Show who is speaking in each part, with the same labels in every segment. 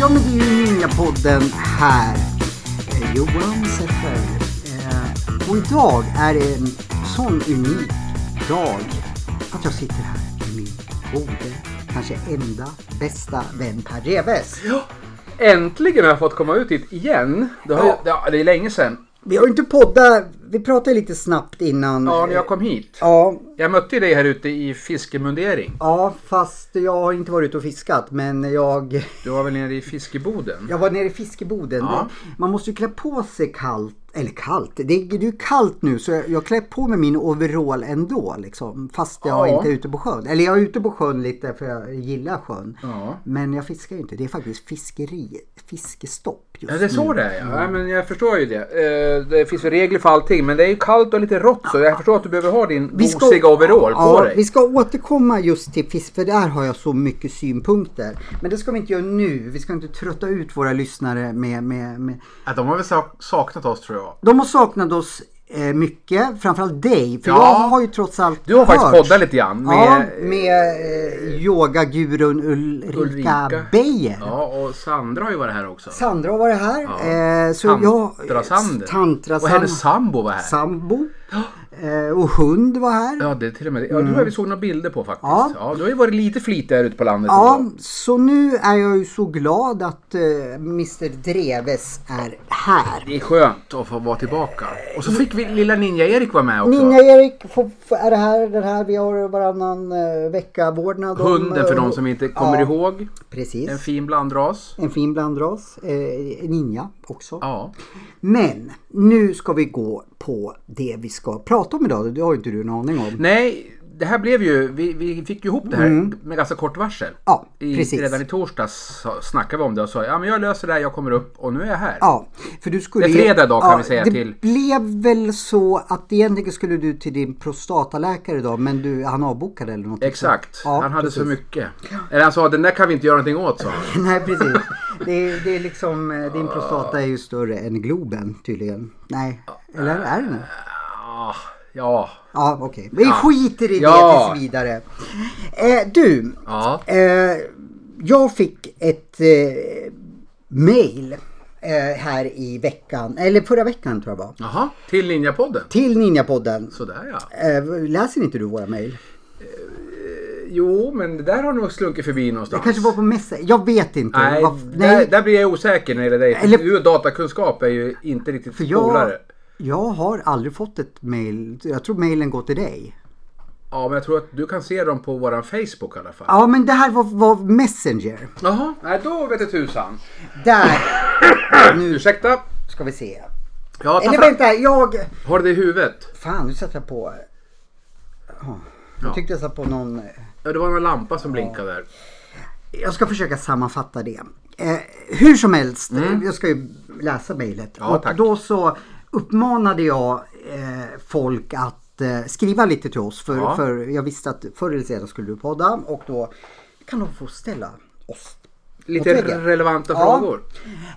Speaker 1: Ja, men det är ju Ninjapodden här. Eh, Johan Seffer. Eh, och idag är det en sån unik dag att jag sitter här med min gode, kanske enda, bästa vän Per Reves.
Speaker 2: Äntligen har jag fått komma ut hit igen. Det, har,
Speaker 1: Ja. Mm.
Speaker 2: ja. det, är länge sedan.
Speaker 1: Vi har ju inte poddat, vi pratade lite snabbt innan.
Speaker 2: Ja, när jag kom hit.
Speaker 1: Ja,
Speaker 2: Jag mötte ju dig här ute i fiskemundering.
Speaker 1: ja, fast jag har inte varit ute och fiskat men jag,
Speaker 2: Du var väl nere i fiskeboden?
Speaker 1: jag var nere i fiskeboden.
Speaker 2: Ja.
Speaker 1: Man måste ju klä på sig kallt, eller kallt, det är det är ju kallt nu så jag, jag klär på mig min overall ändå liksom. Fast jag
Speaker 2: Ja.
Speaker 1: inte är ute på sjön. Eller jag är ute på sjön lite för jag gillar sjön.
Speaker 2: Ja.
Speaker 1: Men jag fiskar ju inte, det är faktiskt fiskeri, fiskestopp just
Speaker 2: Ja, det är så
Speaker 1: nu.
Speaker 2: det är ja.
Speaker 1: Mm.
Speaker 2: ja. men jag förstår ju det. Eh, Det finns ju regler för allting men det är ju kallt och lite rått så jag förstår att du behöver ha din gosiga overall på
Speaker 1: ja,
Speaker 2: dig.
Speaker 1: Vi ska återkomma just till fisk, för där har jag så mycket synpunkter. Men det ska vi inte göra nu. Vi ska inte trötta ut våra lyssnare med... med, med.
Speaker 3: Ja, de har väl sak- saknat oss tror jag.
Speaker 1: De har saknat oss eh, mycket, framförallt dig. För
Speaker 2: Ja.
Speaker 1: jag har ju trots allt
Speaker 2: Du har faktiskt
Speaker 1: hört-
Speaker 2: poddat lite grann med,
Speaker 1: ja, med eh, yogagurun Ulrika,
Speaker 2: Ulrika.
Speaker 1: Beijer.
Speaker 2: ja, och Sandra har ju varit här också.
Speaker 1: Sandra har varit här. Eh, så
Speaker 2: Tantra
Speaker 1: jag,
Speaker 2: Sander.
Speaker 1: Tantra
Speaker 2: och hennes sambo var här.
Speaker 1: sambo. Eh, och hund var här.
Speaker 2: Ja, det är till och med Ja, du har vi såg några bilder på faktiskt.
Speaker 1: Mm. Ja.
Speaker 2: Ja. du har ju varit lite flitig här ute på landet.
Speaker 1: Ja,
Speaker 2: ändå.
Speaker 1: så nu är jag ju så glad att eh, Mr Dreves är här.
Speaker 2: Det är skönt att få vara tillbaka. Och så fick vi lilla Ninja-Erik vara med också.
Speaker 1: Ninja-Erik får- får- är det här, den här vi har varannan eh, vecka vårdnad om,
Speaker 2: Hunden för
Speaker 1: eh,
Speaker 2: de som inte kommer
Speaker 1: ja,
Speaker 2: ihåg.
Speaker 1: Precis.
Speaker 2: En fin blandras.
Speaker 1: En fin blandras. Eh, ninja också.
Speaker 2: Ja.
Speaker 1: Men nu ska vi gå på det vi ska prata om idag. Det har ju inte du en aning om.
Speaker 2: Nej, det här blev ju... Vi, vi fick ju ihop det här med ganska kort varsel.
Speaker 1: Mm. Ja,
Speaker 2: I,
Speaker 1: precis.
Speaker 2: Redan i torsdags sa- snackade vi om det och sa ja men jag löser det här, jag kommer upp och nu är jag här.
Speaker 1: Ja, för du skulle
Speaker 2: Det är
Speaker 1: ju-
Speaker 2: fredag idag kan vi säga
Speaker 1: det
Speaker 2: till.
Speaker 1: blev väl så att egentligen skulle du till din prostataläkare idag men du, han avbokade eller något.
Speaker 2: Exakt,
Speaker 1: Ja,
Speaker 2: han hade så
Speaker 1: precis.
Speaker 2: mycket. Eller han sa den där kan vi inte göra någonting åt sa han.
Speaker 1: Nej precis. Det är, det är liksom, eh, din prostata är ju större än Globen tydligen. Nej, eller är den det?
Speaker 2: Ah, Ja,
Speaker 1: Ja okej, vi skiter i det
Speaker 2: Ja.
Speaker 1: tills vidare. Eh, du,
Speaker 2: ja.
Speaker 1: eh, jag fick ett eh, mail eh, här i veckan, eller förra veckan tror jag var.
Speaker 2: Jaha, till Ninjapodden.
Speaker 1: Till Ninjapodden.
Speaker 2: Sådär ja.
Speaker 1: Eh, läser inte du våra mejl?
Speaker 2: Jo, men det där har nog slunkit förbi
Speaker 1: Det
Speaker 2: någonstans.
Speaker 1: kanske var på mässa. Jag vet inte.
Speaker 2: Nej,
Speaker 1: Vad-
Speaker 2: Där, där blir jag osäker när det gäller dig. För
Speaker 1: Eller-
Speaker 2: Du och datakunskap är ju inte riktigt
Speaker 1: För jag-
Speaker 2: polare.
Speaker 1: Jag har aldrig fått ett mail. Jag tror mailen går till dig.
Speaker 2: Ja, men jag tror att du kan se dem på våran Facebook i alla fall.
Speaker 1: Ja, men det här var, var Messenger.
Speaker 2: Jaha, nej då vet jag tusan.
Speaker 1: Där. Nu
Speaker 2: Ursäkta.
Speaker 1: ska vi se.
Speaker 2: Ja, ta
Speaker 1: Eller
Speaker 2: fram.
Speaker 1: vänta, jag...
Speaker 2: Har du det i huvudet?
Speaker 1: Fan, nu satte jag på... Ja, Jag
Speaker 2: Ja.
Speaker 1: tyckte jag satt på någon...
Speaker 2: Ja, det var någon lampa som blinkade där.
Speaker 1: Jag ska försöka sammanfatta det. Eh, hur som helst, eh, jag ska ju läsa mejlet.
Speaker 2: Mm. Ja,
Speaker 1: och
Speaker 2: tack.
Speaker 1: då så uppmanade jag eh, folk att eh, skriva lite till oss. För,
Speaker 2: Ja.
Speaker 1: för jag visste att förr eller senare skulle du podda och då kan de få ställa oss
Speaker 2: Lite
Speaker 1: Åt väggen.
Speaker 2: relevanta
Speaker 1: Ja.
Speaker 2: frågor.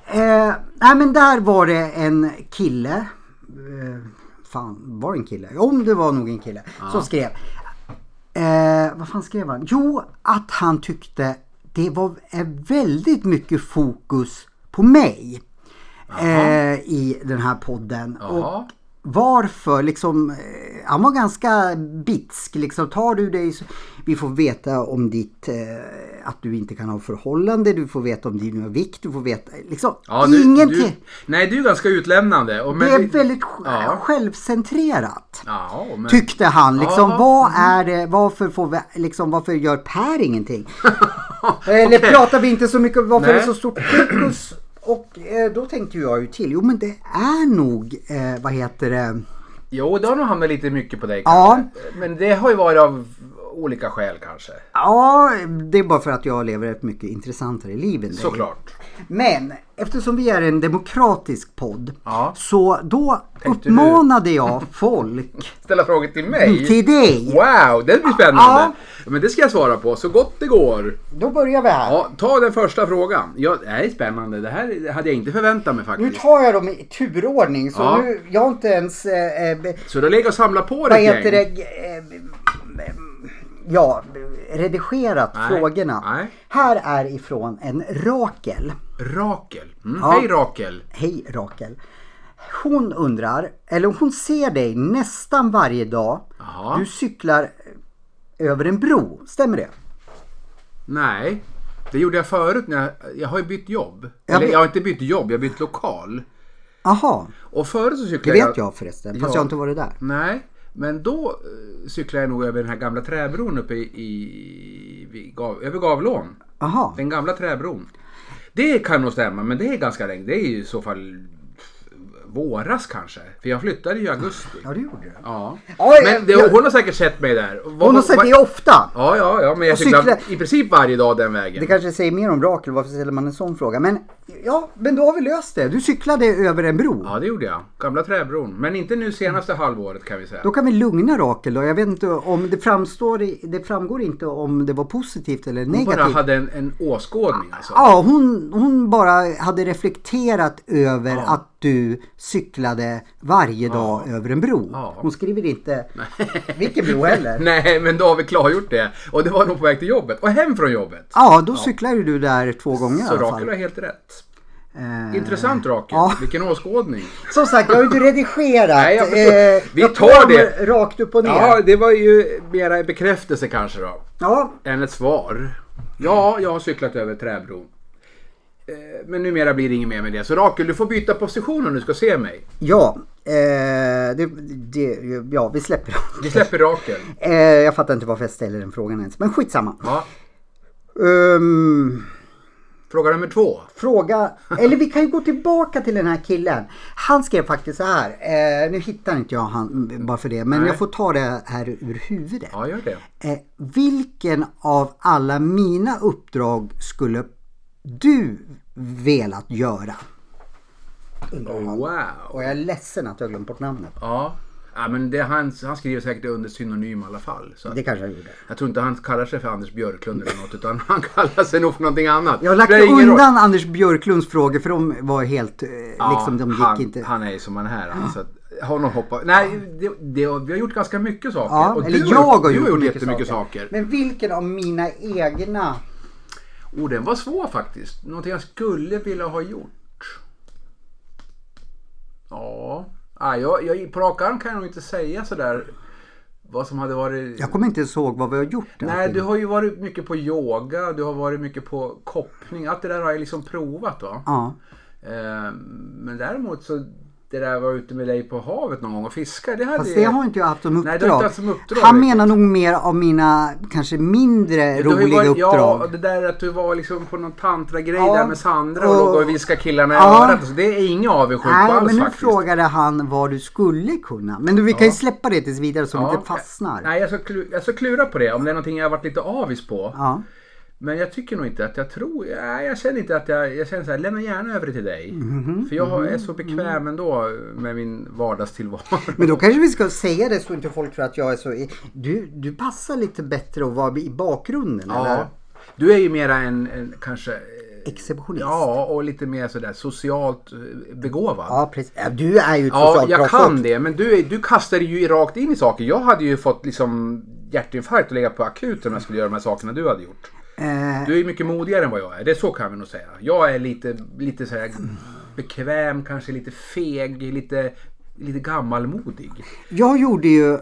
Speaker 1: Eh, nej men där var det en kille. Eh, fan, var det en kille? Om det var nog en kille. Som skrev. Eh, vad fan skrev han? Jo, att han tyckte det var eh, väldigt mycket fokus på mig. Eh, I den här podden.
Speaker 2: Jaha.
Speaker 1: Och varför liksom, eh, han var ganska bitsk liksom. Tar du dig, så- vi får veta om ditt, eh, att du inte kan ha förhållande, du får veta om din vikt, du får veta liksom
Speaker 2: Ja, du,
Speaker 1: ingenting.
Speaker 2: Du, nej, du är ganska utlämnande. Och, men,
Speaker 1: det är
Speaker 2: vi-
Speaker 1: väldigt sj-
Speaker 2: Ja.
Speaker 1: självcentrerat.
Speaker 2: Ja, men...
Speaker 1: Tyckte han liksom,
Speaker 2: Ja.
Speaker 1: vad är det, varför får vi, liksom, varför gör Per ingenting? Eh, Eller pratar vi inte så mycket om varför
Speaker 2: Nej.
Speaker 1: det är så stort fokus? Och eh, då tänkte jag ju till, jo men det är nog, eh, vad heter det,
Speaker 2: Jo, det har nog hamnat lite mycket på dig
Speaker 1: Ja.
Speaker 2: kanske. Men det har ju varit av olika skäl kanske.
Speaker 1: Ja, det är bara för att jag lever ett mycket intressantare liv än dig.
Speaker 2: Såklart.
Speaker 1: Men eftersom vi är en demokratisk podd
Speaker 2: Ja.
Speaker 1: så då
Speaker 2: Tänkte du-
Speaker 1: uppmanade jag folk
Speaker 2: Ställa frågor till mig.
Speaker 1: till dig.
Speaker 2: Wow, det blir
Speaker 1: Ja.
Speaker 2: spännande. Men det ska jag svara på så gott det går.
Speaker 1: Då börjar vi här.
Speaker 2: Ja, ta den första frågan. Ja, det här är spännande. Det här hade jag inte förväntat mig
Speaker 1: Nu
Speaker 2: faktiskt.
Speaker 1: tar jag dem i turordning så
Speaker 2: Ja.
Speaker 1: nu, jag har inte ens eh, eh, be-
Speaker 2: Så då lägger jag och samlar på
Speaker 1: vad
Speaker 2: dig ett
Speaker 1: heter
Speaker 2: gäng.
Speaker 1: det? Eh, Ja, redigerat
Speaker 2: Nej,
Speaker 1: frågorna.
Speaker 2: nej.
Speaker 1: Här är ifrån en Rakel.
Speaker 2: Rakel. Mm.
Speaker 1: Ja.
Speaker 2: Hej Rakel.
Speaker 1: Hej Rakel. Hon undrar, eller hon ser dig nästan varje dag.
Speaker 2: Jaha.
Speaker 1: Du cyklar eh, över en bro, stämmer det?
Speaker 2: Nej, det gjorde jag förut när jag, jag har ju bytt jobb.
Speaker 1: Jag
Speaker 2: Eller
Speaker 1: vet-
Speaker 2: jag har inte bytt jobb, jag har bytt lokal.
Speaker 1: Jaha,
Speaker 2: Och förut så
Speaker 1: det
Speaker 2: cyklade
Speaker 1: vet jag förresten. Fast
Speaker 2: Ja.
Speaker 1: jag har inte varit där.
Speaker 2: Nej, men då eh, cyklade jag nog över den här gamla träbron uppe i, i vid gav, över Gavlån.
Speaker 1: Jaha,
Speaker 2: Den gamla träbron. Det kan nog stämma, men det är ganska länge. Det är ju i så fall våras kanske. För jag flyttade ju i augusti.
Speaker 1: ja det gjorde du.
Speaker 2: Ja.
Speaker 1: Oj,
Speaker 2: Men det,
Speaker 1: jag-
Speaker 2: hon har säkert sett mig där. Vad-
Speaker 1: Hon har
Speaker 2: vad-
Speaker 1: sett
Speaker 2: vad-
Speaker 1: dig ofta.
Speaker 2: Ja, ja, ja, men jag
Speaker 1: Och
Speaker 2: cyklar
Speaker 1: cyklar-
Speaker 2: i princip varje dag den vägen.
Speaker 1: Det kanske säger mer om Rakel, varför ställer man en sån fråga? Men ja, men då har vi löst det. Du cyklade över en bro.
Speaker 2: Ja, det gjorde jag. Gamla träbron. Men inte nu senaste halvåret kan vi säga.
Speaker 1: Då kan vi lugna Rakel då. Jag vet inte om det framstår, i- det framgår inte om det var positivt eller
Speaker 2: Hon bara
Speaker 1: negativt.
Speaker 2: hade en, en åskådning alltså.
Speaker 1: Ja, hon, hon bara hade reflekterat över att du cyklade varje dag över en bro.
Speaker 2: Ja.
Speaker 1: Hon skriver inte vilken bro heller.
Speaker 2: Nej, men då har vi klargjort det. Och det var nog på väg till jobbet och hem från jobbet.
Speaker 1: Ja, då cyklar ju du där två gånger
Speaker 2: Så
Speaker 1: i alla fall.
Speaker 2: Rakel har helt rätt.
Speaker 1: Eh,
Speaker 2: Intressant Rakel.
Speaker 1: ja.
Speaker 2: Vilken åskådning.
Speaker 1: Som sagt, jag har ju inte redigerat.
Speaker 2: Nej, jag förstår.
Speaker 1: Eh,
Speaker 2: Vi
Speaker 1: jag
Speaker 2: tar
Speaker 1: tar
Speaker 2: det.
Speaker 1: dem rakt upp och ner.
Speaker 2: Ja, det var ju mera bekräftelse kanske då.
Speaker 1: Ja,
Speaker 2: Än ett svar. Ja, jag har cyklat över träbron. Eh, Men numera blir det inget mer med det. Så Rakel, du får byta position om du ska se mig.
Speaker 1: ja, eh, det, det, ja vi släpper dem.
Speaker 2: Vi släpper Rakel.
Speaker 1: Eh, jag fattar inte varför jag ställer den frågan ens, men skitsamma.
Speaker 2: Ja.
Speaker 1: Ehm,
Speaker 2: Fråga nummer två.
Speaker 1: fråga, eller vi kan ju gå tillbaka till den här killen. Han skrev faktiskt så här, eh, nu hittar inte jag han bara för det, men
Speaker 2: Nej.
Speaker 1: jag får ta det här ur huvudet.
Speaker 2: Ja, gör det.
Speaker 1: Eh, vilken av alla mina uppdrag skulle du velat göra? Undrar han.
Speaker 2: Wow.
Speaker 1: Och jag är ledsen att jag glömt bort namnet.
Speaker 2: Ja. ja men det, han, han skriver säkert under synonym i alla fall. Så att,
Speaker 1: Det kanske jag gjorde.
Speaker 2: jag tror inte han kallar sig för Anders Björklund eller något utan han kallar sig nog för någonting annat.
Speaker 1: Jag har lagt
Speaker 2: Spelar ingen roll.
Speaker 1: undan Anders Björklunds frågor för de var helt, eh, liksom de gick
Speaker 2: han,
Speaker 1: inte.
Speaker 2: han är ju som han är. Han, så att, honom hoppa. Nej, det, det, vi har gjort ganska mycket saker.
Speaker 1: ja,
Speaker 2: Och
Speaker 1: eller
Speaker 2: du
Speaker 1: jag har
Speaker 2: du
Speaker 1: gjort, mycket
Speaker 2: jättemycket saker.
Speaker 1: Men vilken av mina egna?
Speaker 2: Oh, den var svår faktiskt. Någonting jag skulle vilja ha gjort. Ja, ah, jag, jag, på rak arm kan jag nog inte säga sådär vad som hade varit...
Speaker 1: Jag kommer inte ens ihåg vad vi har gjort.
Speaker 2: Nej, du har ju varit mycket på yoga, du har varit mycket på koppling. Allt det där har jag liksom provat va.
Speaker 1: Ja.
Speaker 2: Eh, men däremot så det där var ute med dig på havet någon gång och fiska. Det hade
Speaker 1: Fast det har inte jag haft som
Speaker 2: det har
Speaker 1: uppdrag.
Speaker 2: inte haft som uppdrag
Speaker 1: Han
Speaker 2: riktigt.
Speaker 1: menar nog mer av mina kanske mindre
Speaker 2: Du har ju
Speaker 1: roliga
Speaker 2: varit- Ja,
Speaker 1: uppdrag.
Speaker 2: och det där att du var liksom på någon tantragrej
Speaker 1: Ja,
Speaker 2: där med Sandra och
Speaker 1: och-
Speaker 2: låg och viskade killarna i
Speaker 1: Ja.
Speaker 2: örat. Så det är ingen avundsjuk på
Speaker 1: Nej,
Speaker 2: alls
Speaker 1: men nu
Speaker 2: faktiskt.
Speaker 1: frågade han vad du skulle kunna. Men du, vi kan ju släppa det tills vidare så vi
Speaker 2: Ja,
Speaker 1: inte fastnar.
Speaker 2: Nej, jag ska, klu- jag ska klura på det om det är någonting jag har varit lite avis på.
Speaker 1: Ja.
Speaker 2: Men jag tycker nog inte att jag tror... Nej, jag känner inte att jag... Jag känner så här, lämna gärna över det till dig.
Speaker 1: Mhm.
Speaker 2: För jag har- är så bekväm ändå med min vardagstillvaro.
Speaker 1: Men då kanske vi ska säga det så inte folk tror att jag är så... i- Du, du passar lite bättre att vara i bakgrunden eller?
Speaker 2: ja. Du är ju mera en, en kanske... eh,
Speaker 1: Exceptionist.
Speaker 2: Ja, och lite mer sådär socialt eh, begåvad.
Speaker 1: Ja, precis. Ja, Du är ju ett
Speaker 2: Ja,
Speaker 1: socialt
Speaker 2: jag
Speaker 1: proffs
Speaker 2: kan
Speaker 1: också.
Speaker 2: det. Men du, är- du kastade ju rakt in i saker. Jag hade ju fått liksom hjärtinfarkt och legat på akuten om jag skulle göra de här sakerna du hade gjort.
Speaker 1: Eh,
Speaker 2: Du är mycket modigare än vad jag är. Det så kan vi nog säga. Jag är lite, lite så här bekväm, kanske lite feg, lite, lite gammalmodig.
Speaker 1: jag gjorde ju...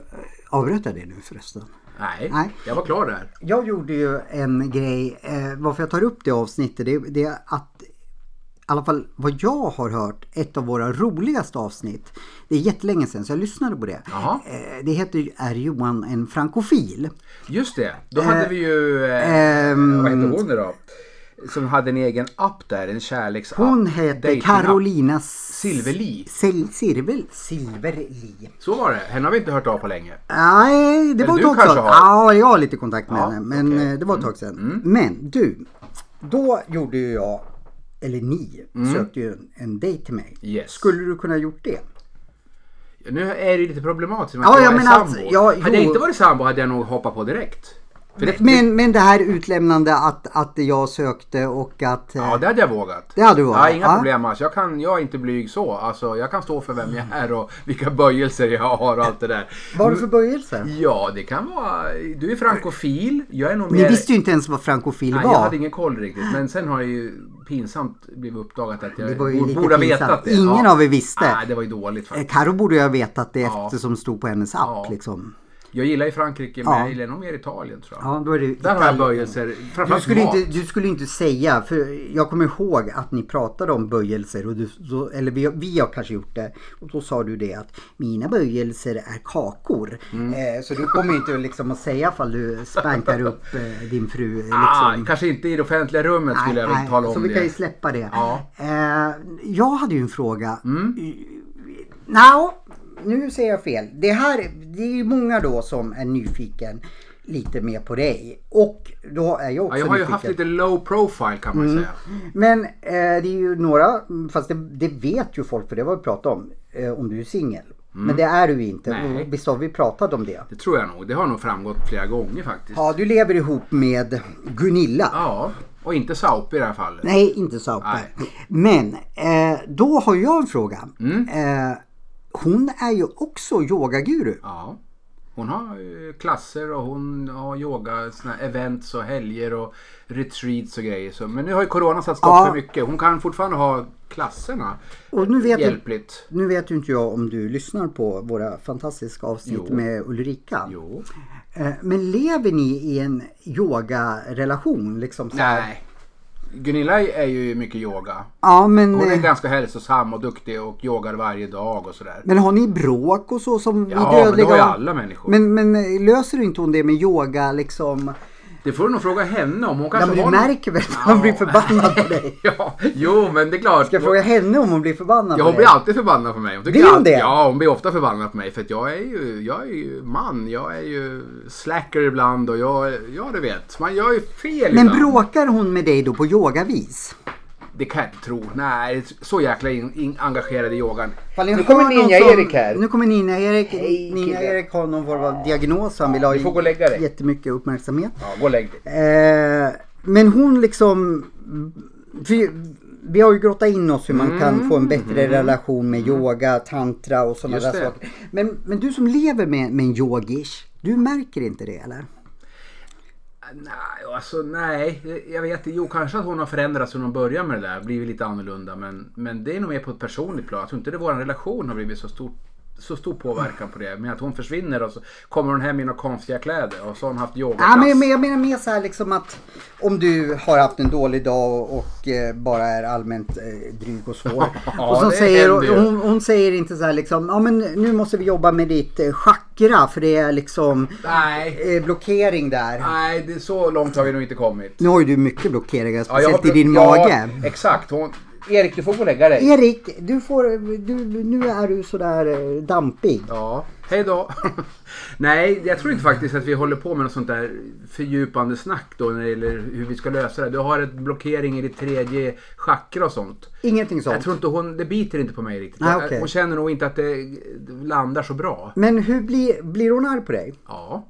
Speaker 1: Avbröt jag det nu förresten?
Speaker 2: Nej,
Speaker 1: Nej.
Speaker 2: jag var klar där.
Speaker 1: Jag gjorde ju en grej, eh, varför jag tar upp det avsnittet, det, det är att i alla fall vad jag har hört, ett av våra roligaste avsnitt. Det är jättelänge sedan så jag lyssnade på det.
Speaker 2: Jaha.
Speaker 1: Eh, Det heter ju Är Johan en frankofil?
Speaker 2: Just det, då hade vi ju... Eh,
Speaker 1: ehm,
Speaker 2: vad hette hon nu då? som hade en egen app där, en kärleksapp.
Speaker 1: Hon heter
Speaker 2: dating-app.
Speaker 1: Carolina Silver...
Speaker 2: Silverli.
Speaker 1: Silver... Silverli.
Speaker 2: Så var det. Henne har vi inte hört av på länge.
Speaker 1: Nej, det
Speaker 2: Eller
Speaker 1: var ett
Speaker 2: du
Speaker 1: tag sedan.
Speaker 2: kanske
Speaker 1: Ja, jag har lite kontakt med
Speaker 2: Ja,
Speaker 1: henne. Men
Speaker 2: okej. Mm.
Speaker 1: eh, det var ett tag sedan. Men du, då gjorde ju jag, eller ni, sökte ju en, en dejt till mig.
Speaker 2: Mm. Yes.
Speaker 1: Skulle du kunna gjort det?
Speaker 2: Nu är det ju lite problematiskt med
Speaker 1: Ja,
Speaker 2: att jag
Speaker 1: jag
Speaker 2: är
Speaker 1: menar att-
Speaker 2: sambo.
Speaker 1: ja,
Speaker 2: hade jag
Speaker 1: jo.
Speaker 2: inte varit sambo hade jag nog hoppat på direkt. För det,
Speaker 1: Men, men det här utlämnande att, att jag sökte och att... eh,
Speaker 2: Ja, det hade jag vågat.
Speaker 1: Det hade du vågat,
Speaker 2: Ja, inga
Speaker 1: ja.
Speaker 2: problem alls. Jag, kan, jag är inte blyg så. Alltså, jag kan stå för vem jag är och vilka böjelser jag har och allt det där.
Speaker 1: Vad var det för böjelse?
Speaker 2: Ja, det kan vara... Du är frankofil. Jag är nog
Speaker 1: Ni
Speaker 2: mer...
Speaker 1: visste ju inte ens vad frankofil
Speaker 2: Nej,
Speaker 1: var.
Speaker 2: jag hade ingen koll riktigt. Men sen har jag ju pinsamt blivit uppdagat att
Speaker 1: Det
Speaker 2: jag
Speaker 1: var ju
Speaker 2: borde,
Speaker 1: lite
Speaker 2: borde ha vetat
Speaker 1: pinsamt.
Speaker 2: det.
Speaker 1: Ingen av er visste.
Speaker 2: Nej, det var ju dåligt
Speaker 1: Eh,
Speaker 2: faktiskt.
Speaker 1: Karo borde ju ha vetat det
Speaker 2: Ja.
Speaker 1: eftersom det stod på hennes app
Speaker 2: Ja.
Speaker 1: liksom.
Speaker 2: Jag gillar ju Frankrike, men
Speaker 1: Ja.
Speaker 2: jag gillar nog mer Italien tror jag.
Speaker 1: Ja, då är det
Speaker 2: Där har
Speaker 1: Italien.
Speaker 2: jag böjelser.
Speaker 1: Du
Speaker 2: Framförallt
Speaker 1: skulle,
Speaker 2: mat.
Speaker 1: inte, du skulle inte säga, för jag kommer ihåg att ni pratade om böjelser, och du, då, eller vi, vi har kanske gjort det. Och då sa du det att mina böjelser är kakor.
Speaker 2: Mm.
Speaker 1: Eh, så du kommer inte liksom att säga ifall du spankar upp eh, din fru. Liksom.
Speaker 2: Ah, kanske inte i det offentliga rummet skulle jag väl tala om
Speaker 1: så vi
Speaker 2: det.
Speaker 1: kan ju släppa det.
Speaker 2: Ja. Mm.
Speaker 1: Eh, jag hade ju en fråga. Nå, nu säger jag fel. Det här, det är ju många då som är nyfiken lite mer på dig. Och då är jag också
Speaker 2: Ja, jag har ju
Speaker 1: nyfiken.
Speaker 2: haft lite low profile kan man
Speaker 1: Mm.
Speaker 2: säga.
Speaker 1: Men eh, det är ju några, fast det, det vet ju folk för det var vi pratat om, eh, om du är singel. Men det är du ju inte.
Speaker 2: Mm. Nej.
Speaker 1: Och Visst har vi pratat om det?
Speaker 2: Det tror jag nog. Det har nog framgått flera gånger faktiskt. Ja.
Speaker 1: Ja, du lever ihop med Gunilla.
Speaker 2: Och inte Saup i det här fallet.
Speaker 1: Nej, inte Saupe. Men eh, då har jag en fråga.
Speaker 2: Mm.
Speaker 1: Eh, hon är ju också yogaguru.
Speaker 2: Ja. Hon har eh, klasser och hon har yoga, såna här events och helger och retreats och grejer. Så, men nu har ju Corona satt stopp
Speaker 1: Ja.
Speaker 2: för mycket. Hon kan fortfarande ha klasserna.
Speaker 1: Och nu vet, jag,
Speaker 2: Hjälpligt.
Speaker 1: nu vet ju inte jag om du lyssnar på våra fantastiska avsnitt
Speaker 2: Jo.
Speaker 1: med Ulrika.
Speaker 2: Jo.
Speaker 1: Eh, men lever ni i en yogarelation? Liksom så här?
Speaker 2: Nej. Gunilla är ju mycket yoga.
Speaker 1: Ja, men,
Speaker 2: Hon är
Speaker 1: eh,
Speaker 2: ganska hälsosam och duktig och yogar varje dag och sådär.
Speaker 1: men har ni bråk och så som
Speaker 2: Ja,
Speaker 1: vi
Speaker 2: men det
Speaker 1: dödliga?
Speaker 2: har ju alla människor.
Speaker 1: Men, men eh, löser inte hon det med yoga liksom?
Speaker 2: Det får du nog fråga henne om. Hon
Speaker 1: Ja,
Speaker 2: kanske
Speaker 1: men du
Speaker 2: har någon-
Speaker 1: märker väl att hon blir förbannad på dig?
Speaker 2: Ja, jo men det är klart.
Speaker 1: Ska jag fråga henne om hon blir förbannad
Speaker 2: Ja,
Speaker 1: på
Speaker 2: hon blir
Speaker 1: dig?
Speaker 2: alltid förbannad på mig. Hon tycker
Speaker 1: Blir hon
Speaker 2: alltid-
Speaker 1: det?
Speaker 2: Ja, hon blir ofta förbannad på mig. För att jag är ju, jag är ju man. Jag är ju slacker ibland och jag, ja du vet. Man gör ju fel
Speaker 1: Men
Speaker 2: ibland.
Speaker 1: bråkar hon med dig då på yogavis?
Speaker 2: Det kan jag inte tro. Nej, så jäkla in, in, engagerad i yogan.
Speaker 1: Fall ni
Speaker 2: Nu
Speaker 1: hör
Speaker 2: kommer
Speaker 1: någon
Speaker 2: Ninja
Speaker 1: som-
Speaker 2: Erik här.
Speaker 1: Nu kommer Ninja Erik.
Speaker 2: Hej,
Speaker 1: Ninja
Speaker 2: killar.
Speaker 1: Erik har någon form av diagnos. Han vill ha
Speaker 2: Du får gå och lägga dig.
Speaker 1: jättemycket uppmärksamhet.
Speaker 2: Ja, gå och lägg dig.
Speaker 1: Eh, men hon liksom... För, vi har ju grottat in oss hur man
Speaker 2: Mm.
Speaker 1: kan få en bättre relation med yoga, tantra och sådana
Speaker 2: Just
Speaker 1: där
Speaker 2: det.
Speaker 1: saker. Men, men du som lever med, med en yogish, du märker inte det eller?
Speaker 2: Nej, alltså nej. Jag vet inte. Jo, kanske att hon har förändrats sedan hon började med det där. Blivit lite annorlunda. Men, men det är nog mer på ett personligt plan. Jag tror inte det vår relation har blivit så stor, så stor påverkan på det. Men att hon försvinner och så kommer hon hem i några konstiga kläder. Och så har hon haft yogaklass.
Speaker 1: Ja, men, men jag menar mer så här liksom att om du har haft en dålig dag och, och eh, bara är allmänt eh, dryg och svår.
Speaker 2: Ja,
Speaker 1: och så
Speaker 2: det
Speaker 1: säger,
Speaker 2: händer ju.
Speaker 1: hon, hon säger inte så här liksom, ja men nu måste vi jobba med ditt eh, chakra för det är liksom
Speaker 2: Nej,
Speaker 1: eh, blockering där.
Speaker 2: nej det är så långt har vi nog inte kommit.
Speaker 1: Nu har ju du mycket blockeringar,
Speaker 2: Ja, jag har
Speaker 1: speciellt i
Speaker 2: pro-
Speaker 1: din
Speaker 2: ja,
Speaker 1: mage.
Speaker 2: Exakt. Hon... Erik, du får gå och lägga dig.
Speaker 1: Erik, du får, du, nu är du sådär eh, dampig.
Speaker 2: Ja, hej då. Nej, jag tror inte faktiskt att vi håller på med något sånt där fördjupande snack då när det gäller hur vi ska lösa det. Du har ett blockering i ditt tredje chakra och sånt.
Speaker 1: Ingenting
Speaker 2: Jag
Speaker 1: sånt.
Speaker 2: tror inte hon, det biter inte på mig riktigt.
Speaker 1: Nej,
Speaker 2: Jag-
Speaker 1: okej.
Speaker 2: Hon känner nog inte att det landar så bra.
Speaker 1: Men hur blir, blir hon arg på dig?
Speaker 2: Ja,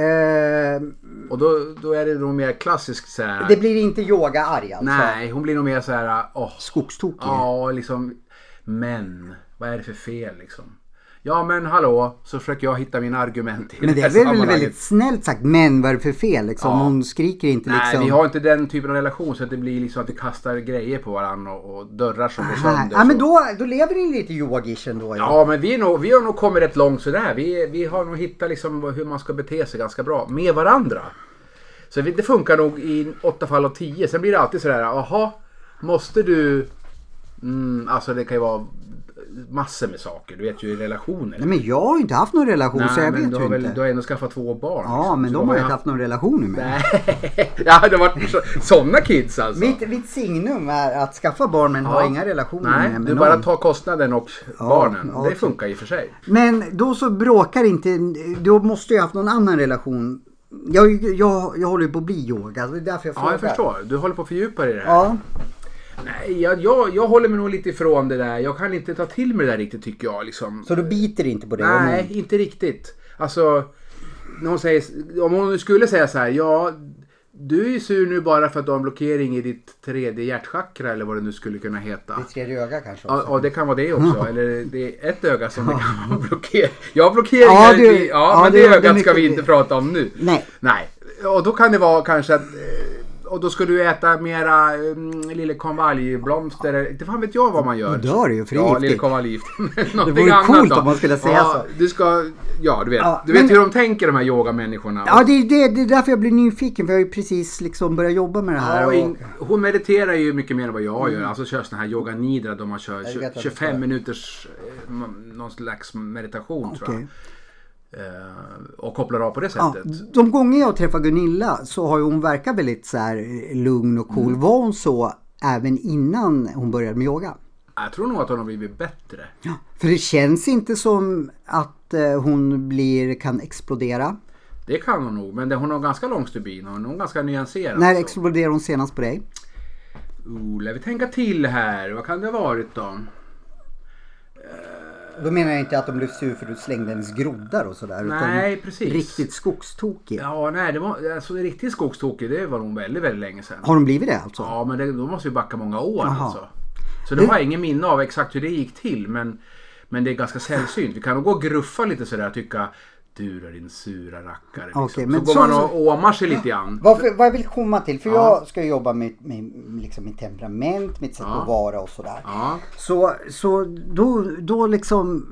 Speaker 1: Eh,
Speaker 2: och då, då är det nog mer klassiskt så här.
Speaker 1: det blir inte yoga-arg alltså?
Speaker 2: Nej, hon blir nog mer så här, åh,
Speaker 1: Skogstokig?
Speaker 2: ja, liksom, men, vad är det för fel liksom? Ja, men hallå, så försöker jag hitta mina argument i
Speaker 1: Men det är
Speaker 2: här
Speaker 1: väl
Speaker 2: sammanhanget.
Speaker 1: väldigt snällt sagt. Men vad är det för fel? Liksom,
Speaker 2: Ja.
Speaker 1: Hon skriker inte
Speaker 2: Nej,
Speaker 1: liksom.
Speaker 2: vi har inte den typen av relation så att det blir liksom att vi kastar grejer på varandra och, och dörrar som går
Speaker 1: Nej.
Speaker 2: sönder.
Speaker 1: Ja, Ah, men
Speaker 2: så.
Speaker 1: då, då lever ni lite yogish ändå. Ja.
Speaker 2: Ja, men vi, är nog, vi har nog kommit rätt långt sådär. Vi, vi har nog hittat liksom hur man ska bete sig ganska bra med varandra. Så vi- det funkar nog i åtta fall av tio. Sen blir det alltid sådär, jaha, måste du... Mm, alltså det kan ju vara massor med saker. Du vet ju i relationer.
Speaker 1: Nej men jag har ju inte haft någon relation så jag
Speaker 2: men
Speaker 1: vet ju
Speaker 2: du har
Speaker 1: inte.
Speaker 2: väl, Du har ändå skaffat två barn.
Speaker 1: Ja
Speaker 2: liksom.
Speaker 1: men
Speaker 2: Så
Speaker 1: de har ju
Speaker 2: jag
Speaker 1: inte haft någon relation med mig.
Speaker 2: Nej, ja, det har varit så- sådana kids alltså.
Speaker 1: Mitt, mitt signum är att skaffa barn men ha inga relationer
Speaker 2: Nej,
Speaker 1: med
Speaker 2: du
Speaker 1: någon.
Speaker 2: bara tar kostnaden och
Speaker 1: Ja,
Speaker 2: barnen.
Speaker 1: ja,
Speaker 2: det
Speaker 1: okej.
Speaker 2: funkar i och för sig.
Speaker 1: Men då så bråkar inte, då måste jag haft någon annan relation. Jag, jag, jag håller ju på att bli yoga, det är därför jag
Speaker 2: Ja,
Speaker 1: frågar.
Speaker 2: jag förstår. Du håller på att fördjupa dig i det här.
Speaker 1: Ja,
Speaker 2: Nej, jag, jag, jag håller mig nog lite ifrån det där. Jag kan inte ta till mig det där riktigt tycker jag. Liksom.
Speaker 1: så du biter inte på det? om
Speaker 2: Nej, inte riktigt. Alltså, när hon säger, om hon skulle säga så här, ja, du är ju sur nu bara för att du har en blockering i ditt tredje hjärtchakra eller vad det nu skulle kunna heta.
Speaker 1: hon- Det tredje ögat kanske
Speaker 2: Ja,
Speaker 1: också.
Speaker 2: ja, det kan vara det också. Eller det är ett öga som det kan vara blockerat. Jag har blockeringar.
Speaker 1: Ja,
Speaker 2: Ja,
Speaker 1: du-
Speaker 2: i, ja,
Speaker 1: ja,
Speaker 2: men
Speaker 1: det-
Speaker 2: det,
Speaker 1: det är
Speaker 2: ögat ska vi
Speaker 1: mycket-
Speaker 2: inte prata om nu.
Speaker 1: Nej.
Speaker 2: Nej. Och då kan det vara kanske att... eh, Och då ska du äta mera mm, lille konvaljblomster. eller- Inte fan vet jag vad man gör.
Speaker 1: Då dör du ju, för det är
Speaker 2: Ja,
Speaker 1: giftigt.
Speaker 2: lille konvaljgift. Någonting
Speaker 1: vore
Speaker 2: annat
Speaker 1: coolt
Speaker 2: då.
Speaker 1: om man skulle säga
Speaker 2: ja,
Speaker 1: så.
Speaker 2: Du ska... Ja, du vet.
Speaker 1: Ja,
Speaker 2: du vet
Speaker 1: men-
Speaker 2: hur de tänker de här yogamänniskorna.
Speaker 1: Ja, det är, det, det är därför jag blir nyfiken för jag har ju precis liksom börjat jobba med det här.
Speaker 2: Ja, och
Speaker 1: och- Mm.
Speaker 2: in, hon mediterar ju mycket mer än vad jag gör. Alltså kör sån här yoga nidra där man kör
Speaker 1: vet att det
Speaker 2: 25
Speaker 1: står.
Speaker 2: minuters eh, m- någon slags meditation tror jag.
Speaker 1: Okej.
Speaker 2: Eh, och kopplar av på det
Speaker 1: Ja,
Speaker 2: sättet.
Speaker 1: de gånger jag träffar Gunilla så har ju hon verkat väldigt så här eh, lugn och cool.
Speaker 2: Mm.
Speaker 1: Var hon så även innan hon började med yoga?
Speaker 2: Jag tror nog att hon har blivit bättre.
Speaker 1: Ja, För det känns inte som att eh, hon blir, kan explodera.
Speaker 2: Det kan hon nog. Men det, hon har ganska lång stubin. Hon är ganska nyanserad.
Speaker 1: När
Speaker 2: så.
Speaker 1: exploderade hon senast på dig?
Speaker 2: Oh, lär vi tänka till här. Vad kan det ha varit då?
Speaker 1: Då menar jag inte att de blev sur för att du slängde hennes groddar och sådär.
Speaker 2: Nej,
Speaker 1: utan
Speaker 2: precis.
Speaker 1: Riktigt skogstokig.
Speaker 2: Ja, nej, det var alltså, riktigt skogstokig. Det var hon väldigt, väldigt länge sedan.
Speaker 1: Har de blivit det alltså?
Speaker 2: Ja, men det, då måste vi backa många år
Speaker 1: Jaha.
Speaker 2: alltså. Så det har jag ingen minne av exakt hur det gick till. Men, men det är ganska sällsynt. Vi kan nog gå och gruffa lite sådär och tycka du då din sura rackare. Liksom.
Speaker 1: Okej, men
Speaker 2: men så
Speaker 1: så-
Speaker 2: går man och åmar sig lite grann.
Speaker 1: Varför, vad jag vill komma till, för jag ska jobba med, med liksom mitt temperament, mitt sätt
Speaker 2: Ja.
Speaker 1: att vara och sådär.
Speaker 2: Ja.
Speaker 1: Så, så då, då liksom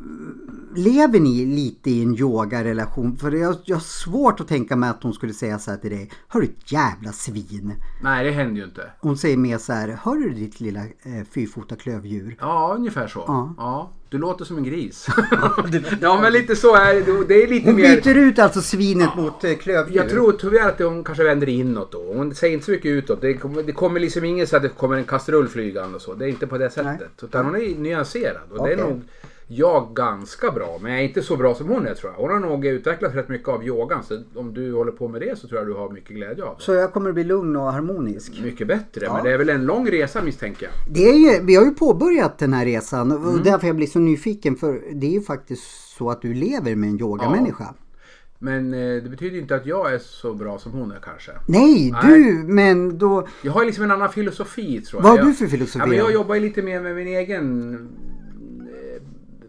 Speaker 1: lever ni lite i en yogarelation? För jag, jag har svårt att tänka mig att hon skulle säga så här till dig. Hör du ett jävla svin.
Speaker 2: Nej, det händer ju inte.
Speaker 1: Hon säger mer så här. Hör du ditt lilla eh, fyrfota klövdjur?
Speaker 2: Ja, ungefär så.
Speaker 1: Ja.
Speaker 2: Ja. Du låter som en gris. ja, men lite så är det. Det är lite
Speaker 1: Hon
Speaker 2: mer...
Speaker 1: byter ut alltså svinet mot eh, klövdjur.
Speaker 2: Jag tror tyvärr att hon kanske vänder inåt då. Hon säger inte så mycket utåt. Det kommer, det kommer liksom ingen så att det kommer en kastrull flygande och så. Det är inte på det sättet. Utan hon är nyanserad. Och det är
Speaker 1: Okej.
Speaker 2: nog jag ganska bra. Men jag är inte så bra som hon är tror jag. Hon har nog utvecklat rätt mycket av yogan. Så om du håller på med det så tror jag du har mycket glädje av
Speaker 1: Så jag kommer att bli lugn och harmonisk.
Speaker 2: det. Mycket bättre. Men det är väl en lång resa misstänker jag.
Speaker 1: Det är ju, vi har ju påbörjat den här resan och
Speaker 2: Mm.
Speaker 1: därför jag blir så nyfiken för det är ju faktiskt så att du lever med en yogamänniska.
Speaker 2: Men eh, det betyder ju inte att jag är så bra som hon är kanske.
Speaker 1: Nej, du, men då...
Speaker 2: Jag har liksom en annan filosofi tror jag.
Speaker 1: Vad har
Speaker 2: jag,
Speaker 1: du för filosofi
Speaker 2: Ja, men
Speaker 1: då?
Speaker 2: jag jobbar ju lite mer med min egen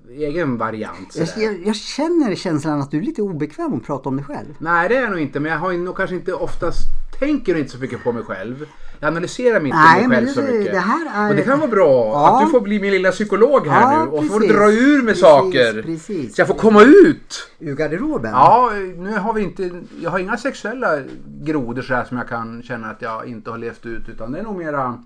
Speaker 2: eh, egen variant.
Speaker 1: Jag,
Speaker 2: sådär.
Speaker 1: jag, jag känner känslan att du är lite obekväm att prata om dig själv.
Speaker 2: Nej det är jag nog inte men jag har ju nog kanske inte oftast tänker inte så mycket på mig själv. Jag analyserar mig inte
Speaker 1: Nej, men
Speaker 2: mig själv
Speaker 1: det-
Speaker 2: så mycket.
Speaker 1: det här är-
Speaker 2: Och det kan vara bra
Speaker 1: Ja.
Speaker 2: att du får bli min lilla psykolog här
Speaker 1: Ja,
Speaker 2: nu och så får du
Speaker 1: precis.
Speaker 2: dra ur med
Speaker 1: Precis,
Speaker 2: saker.
Speaker 1: precis.
Speaker 2: Så jag får komma ut.
Speaker 1: Ur garderoben?
Speaker 2: Ja, nu har vi inte, jag har inga sexuella grodor sådär som jag kan känna att jag inte har levt ut utan det är nog mera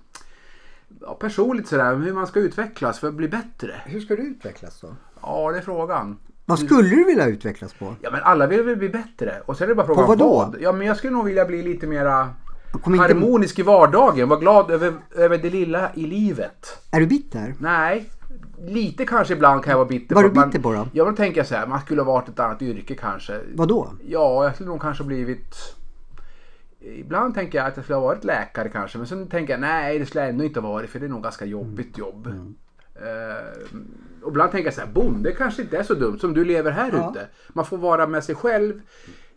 Speaker 2: ja, personligt sådär hur man ska utvecklas för att bli bättre.
Speaker 1: Hur ska du utvecklas då?
Speaker 2: Ja, det är frågan.
Speaker 1: Vad skulle du vilja utvecklas på?
Speaker 2: Ja, men alla vill väl bli bättre och sen är det bara frågan
Speaker 1: På vad då?
Speaker 2: Ja, men jag skulle nog vilja bli lite mera
Speaker 1: Kom inte-
Speaker 2: harmonisk i vardagen, vara glad över, över det lilla i livet.
Speaker 1: Är du bitter?
Speaker 2: Nej, lite kanske ibland kan jag vara bitter.
Speaker 1: Var
Speaker 2: på
Speaker 1: du
Speaker 2: att man-
Speaker 1: bitter på då?
Speaker 2: Ja, men då tänker jag så här, man skulle ha varit ett annat yrke kanske.
Speaker 1: Vad då?
Speaker 2: Ja, jag skulle nog kanske blivit... Ibland tänker jag att jag skulle ha varit läkare kanske men sen tänker jag nej det skulle jag ändå inte ha varit för det är nog ganska jobbigt jobb. Eh, och ibland tänker jag så här, bonde kanske inte är så dumt som du lever här
Speaker 1: Ja.
Speaker 2: ute. Man får vara med sig själv.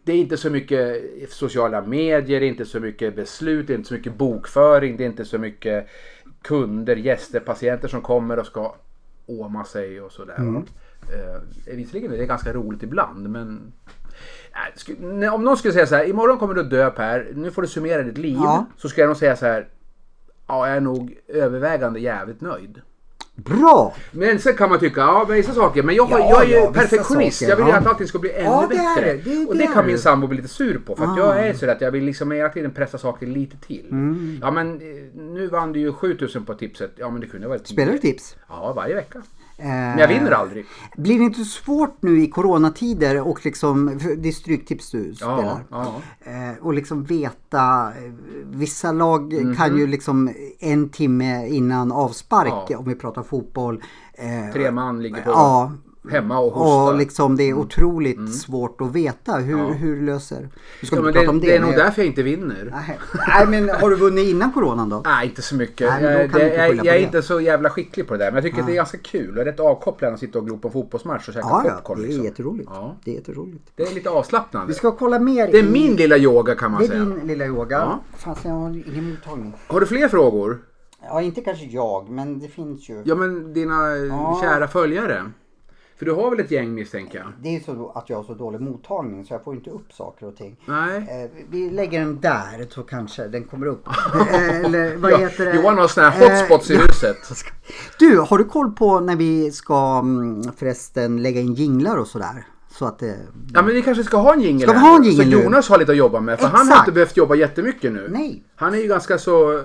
Speaker 2: Det är inte så mycket sociala medier, det är inte så mycket beslut, det är inte så mycket bokföring, det är inte så mycket kunder, gäster, patienter som kommer och ska åma sig och sådär. Mm. eh, visserligen är det ganska roligt ibland men Nej, sku- nej, om någon skulle säga så här, imorgon kommer du att dö Per, nu får du summera ditt liv.
Speaker 1: Ja.
Speaker 2: Så skulle jag nog säga så här, ja jag är nog övervägande jävligt nöjd.
Speaker 1: Bra!
Speaker 2: Men sen kan man tycka, ja vissa saker, men jag, har,
Speaker 1: Ja,
Speaker 2: jag är ju
Speaker 1: ja, vissa
Speaker 2: perfektionist.
Speaker 1: saker,
Speaker 2: jag vill ju
Speaker 1: ja.
Speaker 2: att allting ska bli ännu
Speaker 1: Ja, det är det.
Speaker 2: bättre.
Speaker 1: Det-
Speaker 2: och
Speaker 1: det
Speaker 2: det,
Speaker 1: är
Speaker 2: kan
Speaker 1: det.
Speaker 2: min sambo bli lite sur på. För att jag
Speaker 1: Ah. Mm.
Speaker 2: är sådär att jag vill liksom hela tiden pressa saker lite till. Ja men eh, nu vann du ju 7000 på tipset. Ja men det kunde ha varit 10.
Speaker 1: Spelar du tips?
Speaker 2: Ja, varje vecka. Men jag vinner aldrig.
Speaker 1: Blir det inte svårt nu i coronatider och liksom, för det är stryktips du
Speaker 2: Ja,
Speaker 1: spelar.
Speaker 2: ja.
Speaker 1: Eh, Och liksom veta, eh, vissa lag kan ju liksom en timme innan avspark
Speaker 2: Mhm. Ja.
Speaker 1: om vi pratar fotboll. eh,
Speaker 2: Tre man ligger på
Speaker 1: Ja,
Speaker 2: hemma och hostar. Mm.
Speaker 1: och liksom det är otroligt svårt att veta hur, hur löser. Vi ska
Speaker 2: ja,
Speaker 1: inte
Speaker 2: men
Speaker 1: prata
Speaker 2: det,
Speaker 1: om
Speaker 2: det,
Speaker 1: det.
Speaker 2: är nog
Speaker 1: men jag-
Speaker 2: därför jag inte vinner.
Speaker 1: Nej. Nej men har du vunnit innan coronan då?
Speaker 2: Nej, inte så mycket.
Speaker 1: Nej, men då
Speaker 2: jag,
Speaker 1: kan du
Speaker 2: det,
Speaker 1: inte
Speaker 2: jag,
Speaker 1: skylla på
Speaker 2: jag är
Speaker 1: det.
Speaker 2: inte så jävla skicklig på det där. Men jag tycker att det är ganska kul och rätt avkopplande att sitta och glo på en fotbollsmatch och käka
Speaker 1: Ja, ja,
Speaker 2: popcorn.
Speaker 1: det är
Speaker 2: Liksom.
Speaker 1: jätteroligt.
Speaker 2: Ja.
Speaker 1: Det är jätteroligt.
Speaker 2: Det är lite avslappnande.
Speaker 1: Vi ska kolla mer
Speaker 2: Det är
Speaker 1: i-
Speaker 2: min lilla yoga kan man
Speaker 1: Det är
Speaker 2: säga.
Speaker 1: din lilla yoga.
Speaker 2: Ja.
Speaker 1: Fan, jag har ingen mottagning.
Speaker 2: Har du fler frågor?
Speaker 1: Ja, inte kanske jag, men det finns ju.
Speaker 2: Ja, men dina eh,
Speaker 1: Ja.
Speaker 2: kära följare. För du har väl ett gäng misstänker jag?
Speaker 1: Det är ju så att jag har så dålig mottagning så jag får inte upp saker och ting.
Speaker 2: Nej.
Speaker 1: Eh, vi lägger den där så kanske den kommer upp. Eh, Eller vad heter det?
Speaker 2: Johan har såna här hotspots i
Speaker 1: Eh,
Speaker 2: huset.
Speaker 1: Du, har du koll på när vi ska mm, förresten lägga in jinglar och sådär? Så att eh, det...
Speaker 2: Ja men vi kanske ska ha en jingel
Speaker 1: Ska vi
Speaker 2: här
Speaker 1: ha en
Speaker 2: nu,
Speaker 1: jingle
Speaker 2: Så
Speaker 1: nu?
Speaker 2: Jonas har lite att jobba med. För han har
Speaker 1: Exakt.
Speaker 2: inte behövt jobba jättemycket nu.
Speaker 1: Nej.
Speaker 2: Han är ju ganska så, eh,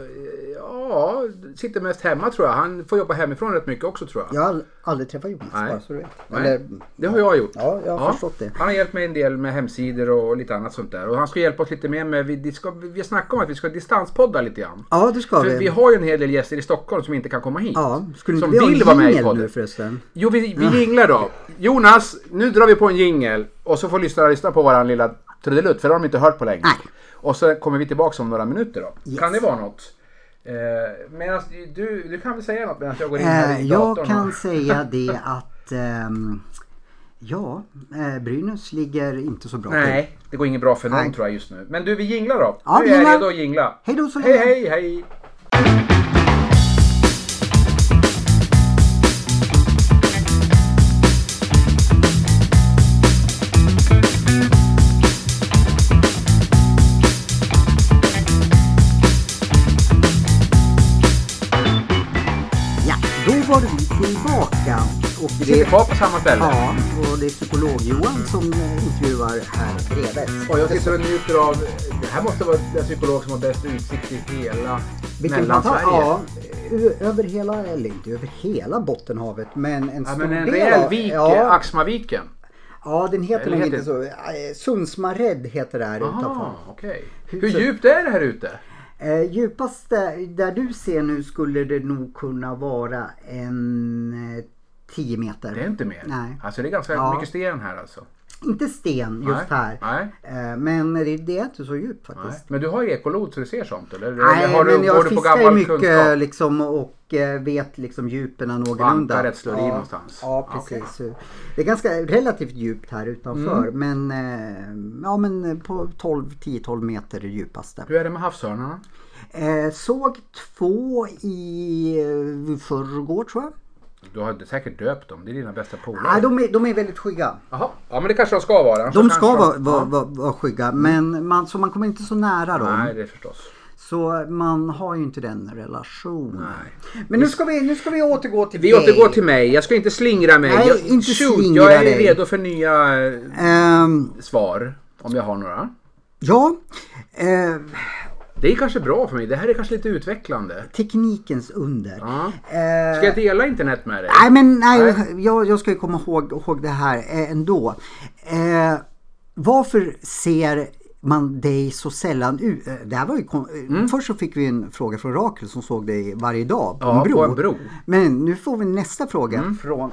Speaker 2: ja, sitter mest hemma tror jag. Han får jobba hemifrån rätt mycket också tror jag.
Speaker 1: Jag har ald- aldrig träffat Jonas
Speaker 2: Nej.
Speaker 1: bara så du vet.
Speaker 2: Nej,
Speaker 1: Eller,
Speaker 2: det har jag gjort.
Speaker 1: Ja, jag har förstått det.
Speaker 2: Han har hjälpt mig en del med hemsidor och lite annat sånt där. Och han ska hjälpa oss lite mer med, vi, det ska, vi snackar om att vi ska distanspodda lite grann.
Speaker 1: Ja, det ska
Speaker 2: För
Speaker 1: vi.
Speaker 2: vi har ju en hel del gäster i Stockholm som inte kan komma hit.
Speaker 1: Ja, skulle inte
Speaker 2: som
Speaker 1: vi ha en
Speaker 2: vill vara med i
Speaker 1: jingel nu
Speaker 2: podden.
Speaker 1: förresten?
Speaker 2: Jo, vi, vi jinglar då. Jonas, nu drar vi på en jingel och så får lyssnarna lyssna på våran lilla trudelutt för det har de inte hört på länge.
Speaker 1: Nej.
Speaker 2: Och så kommer vi tillbaka om några minuter då.
Speaker 1: Yes.
Speaker 2: Kan det vara något? Eh, medans, du, du kan väl säga något medan jag går in här
Speaker 1: Eh,
Speaker 2: i
Speaker 1: jag
Speaker 2: datorn?
Speaker 1: kan
Speaker 2: och-
Speaker 1: säga det att ehm, ja, eh, Brynäs ligger inte så bra till.
Speaker 2: Nej, det går inget bra för någon
Speaker 1: Nej.
Speaker 2: tror jag just nu. Men du, vi jinglar då.
Speaker 1: Ja,
Speaker 2: nu
Speaker 1: vi
Speaker 2: är jag
Speaker 1: jinglar.
Speaker 2: redo att jingla.
Speaker 1: Hej då så
Speaker 2: Hej,
Speaker 1: länge.
Speaker 2: hej, hej.
Speaker 1: Ja, då var vi tillbaka. Och
Speaker 2: Vi sitter kvar på samma ställe.
Speaker 1: Ja, och det är psykolog-Johan som eh, intervjuar här bredvid.
Speaker 2: Och jag sitter och njuter av... Det här måste vara den psykolog som har bäst utsikt i hela
Speaker 1: fanta-
Speaker 2: Mellansverige.
Speaker 1: Ja, ö- över hela, eller inte över hela Bottenhavet, men en
Speaker 2: Ja,
Speaker 1: stor
Speaker 2: men en
Speaker 1: del
Speaker 2: rejäl
Speaker 1: av-
Speaker 2: vik, ja.
Speaker 1: Ja,
Speaker 2: Axmaviken.
Speaker 1: ja, den heter
Speaker 2: Eller
Speaker 1: nog
Speaker 2: heter-
Speaker 1: inte så. Eh, Sundsmared heter det här utanför.
Speaker 2: Jaha, okej. Hur
Speaker 1: Huset.
Speaker 2: djupt är det här ute?
Speaker 1: Eh, djupast där, där du ser nu skulle det nog kunna vara en eh, 10 meter.
Speaker 2: Det är inte mer.
Speaker 1: Nej.
Speaker 2: Alltså det är ganska
Speaker 1: Ja.
Speaker 2: mycket sten här alltså.
Speaker 1: Inte sten just
Speaker 2: Nej,
Speaker 1: här.
Speaker 2: nej.
Speaker 1: Eh, men det, det är inte så djupt
Speaker 2: Nej.
Speaker 1: faktiskt.
Speaker 2: Men du har ekolod så du ser sånt eller?
Speaker 1: Nej,
Speaker 2: eller har du,
Speaker 1: men
Speaker 2: går
Speaker 1: jag
Speaker 2: du på
Speaker 1: fiskar ju
Speaker 2: gammal
Speaker 1: mycket
Speaker 2: kunskap?
Speaker 1: liksom, och eh, vet liksom djupen någorlunda.
Speaker 2: Bankar rätt slår i
Speaker 1: ja,
Speaker 2: någonstans.
Speaker 1: Ja, precis. Det är ganska relativt djupt här utanför.
Speaker 2: Mm.
Speaker 1: Men, eh, ja, men på 12, 10-12 meter är det djupaste.
Speaker 2: Hur är det med havsörnarna?
Speaker 1: Eh, såg två i eh, förrgår tror jag.
Speaker 2: Du har inte säkert döpt dem, det är dina bästa polare.
Speaker 1: Nej, de är, de är väldigt skygga.
Speaker 2: Jaha, ja men det kanske de ska vara. annars
Speaker 1: De
Speaker 2: Alltså, kanske
Speaker 1: ska vara, vara,
Speaker 2: Ja. Mm.
Speaker 1: vara, vara skygga, men man, så man kommer inte så nära dem.
Speaker 2: Nej, det är förstås.
Speaker 1: Så man har ju inte den relationen. Men nu ska vi, nu ska vi återgå till
Speaker 2: Vi
Speaker 1: dig.
Speaker 2: återgår till mig, jag ska inte slingra mig.
Speaker 1: Nej,
Speaker 2: jag,
Speaker 1: inte
Speaker 2: shoot,
Speaker 1: slingra
Speaker 2: Jag är
Speaker 1: dig.
Speaker 2: redo för nya eh,
Speaker 1: Ehm,
Speaker 2: svar. Om jag har några.
Speaker 1: ja, ehm,
Speaker 2: Det är kanske bra för mig, det här är kanske lite utvecklande.
Speaker 1: teknikens under.
Speaker 2: Ja.
Speaker 1: Ehm,
Speaker 2: Ska jag dela internet med dig?
Speaker 1: Nej men nej, jag, jag ska ju komma ihåg, ihåg det här eh, ändå. Eh, varför ser man dig så sällan ut? Eh, Det här var ju kon- eh,
Speaker 2: Mm.
Speaker 1: Först så fick vi en fråga från Rakel som såg dig varje dag på,
Speaker 2: Ja,
Speaker 1: en, bro.
Speaker 2: på en bro. Mm.
Speaker 1: Men nu får vi nästa fråga från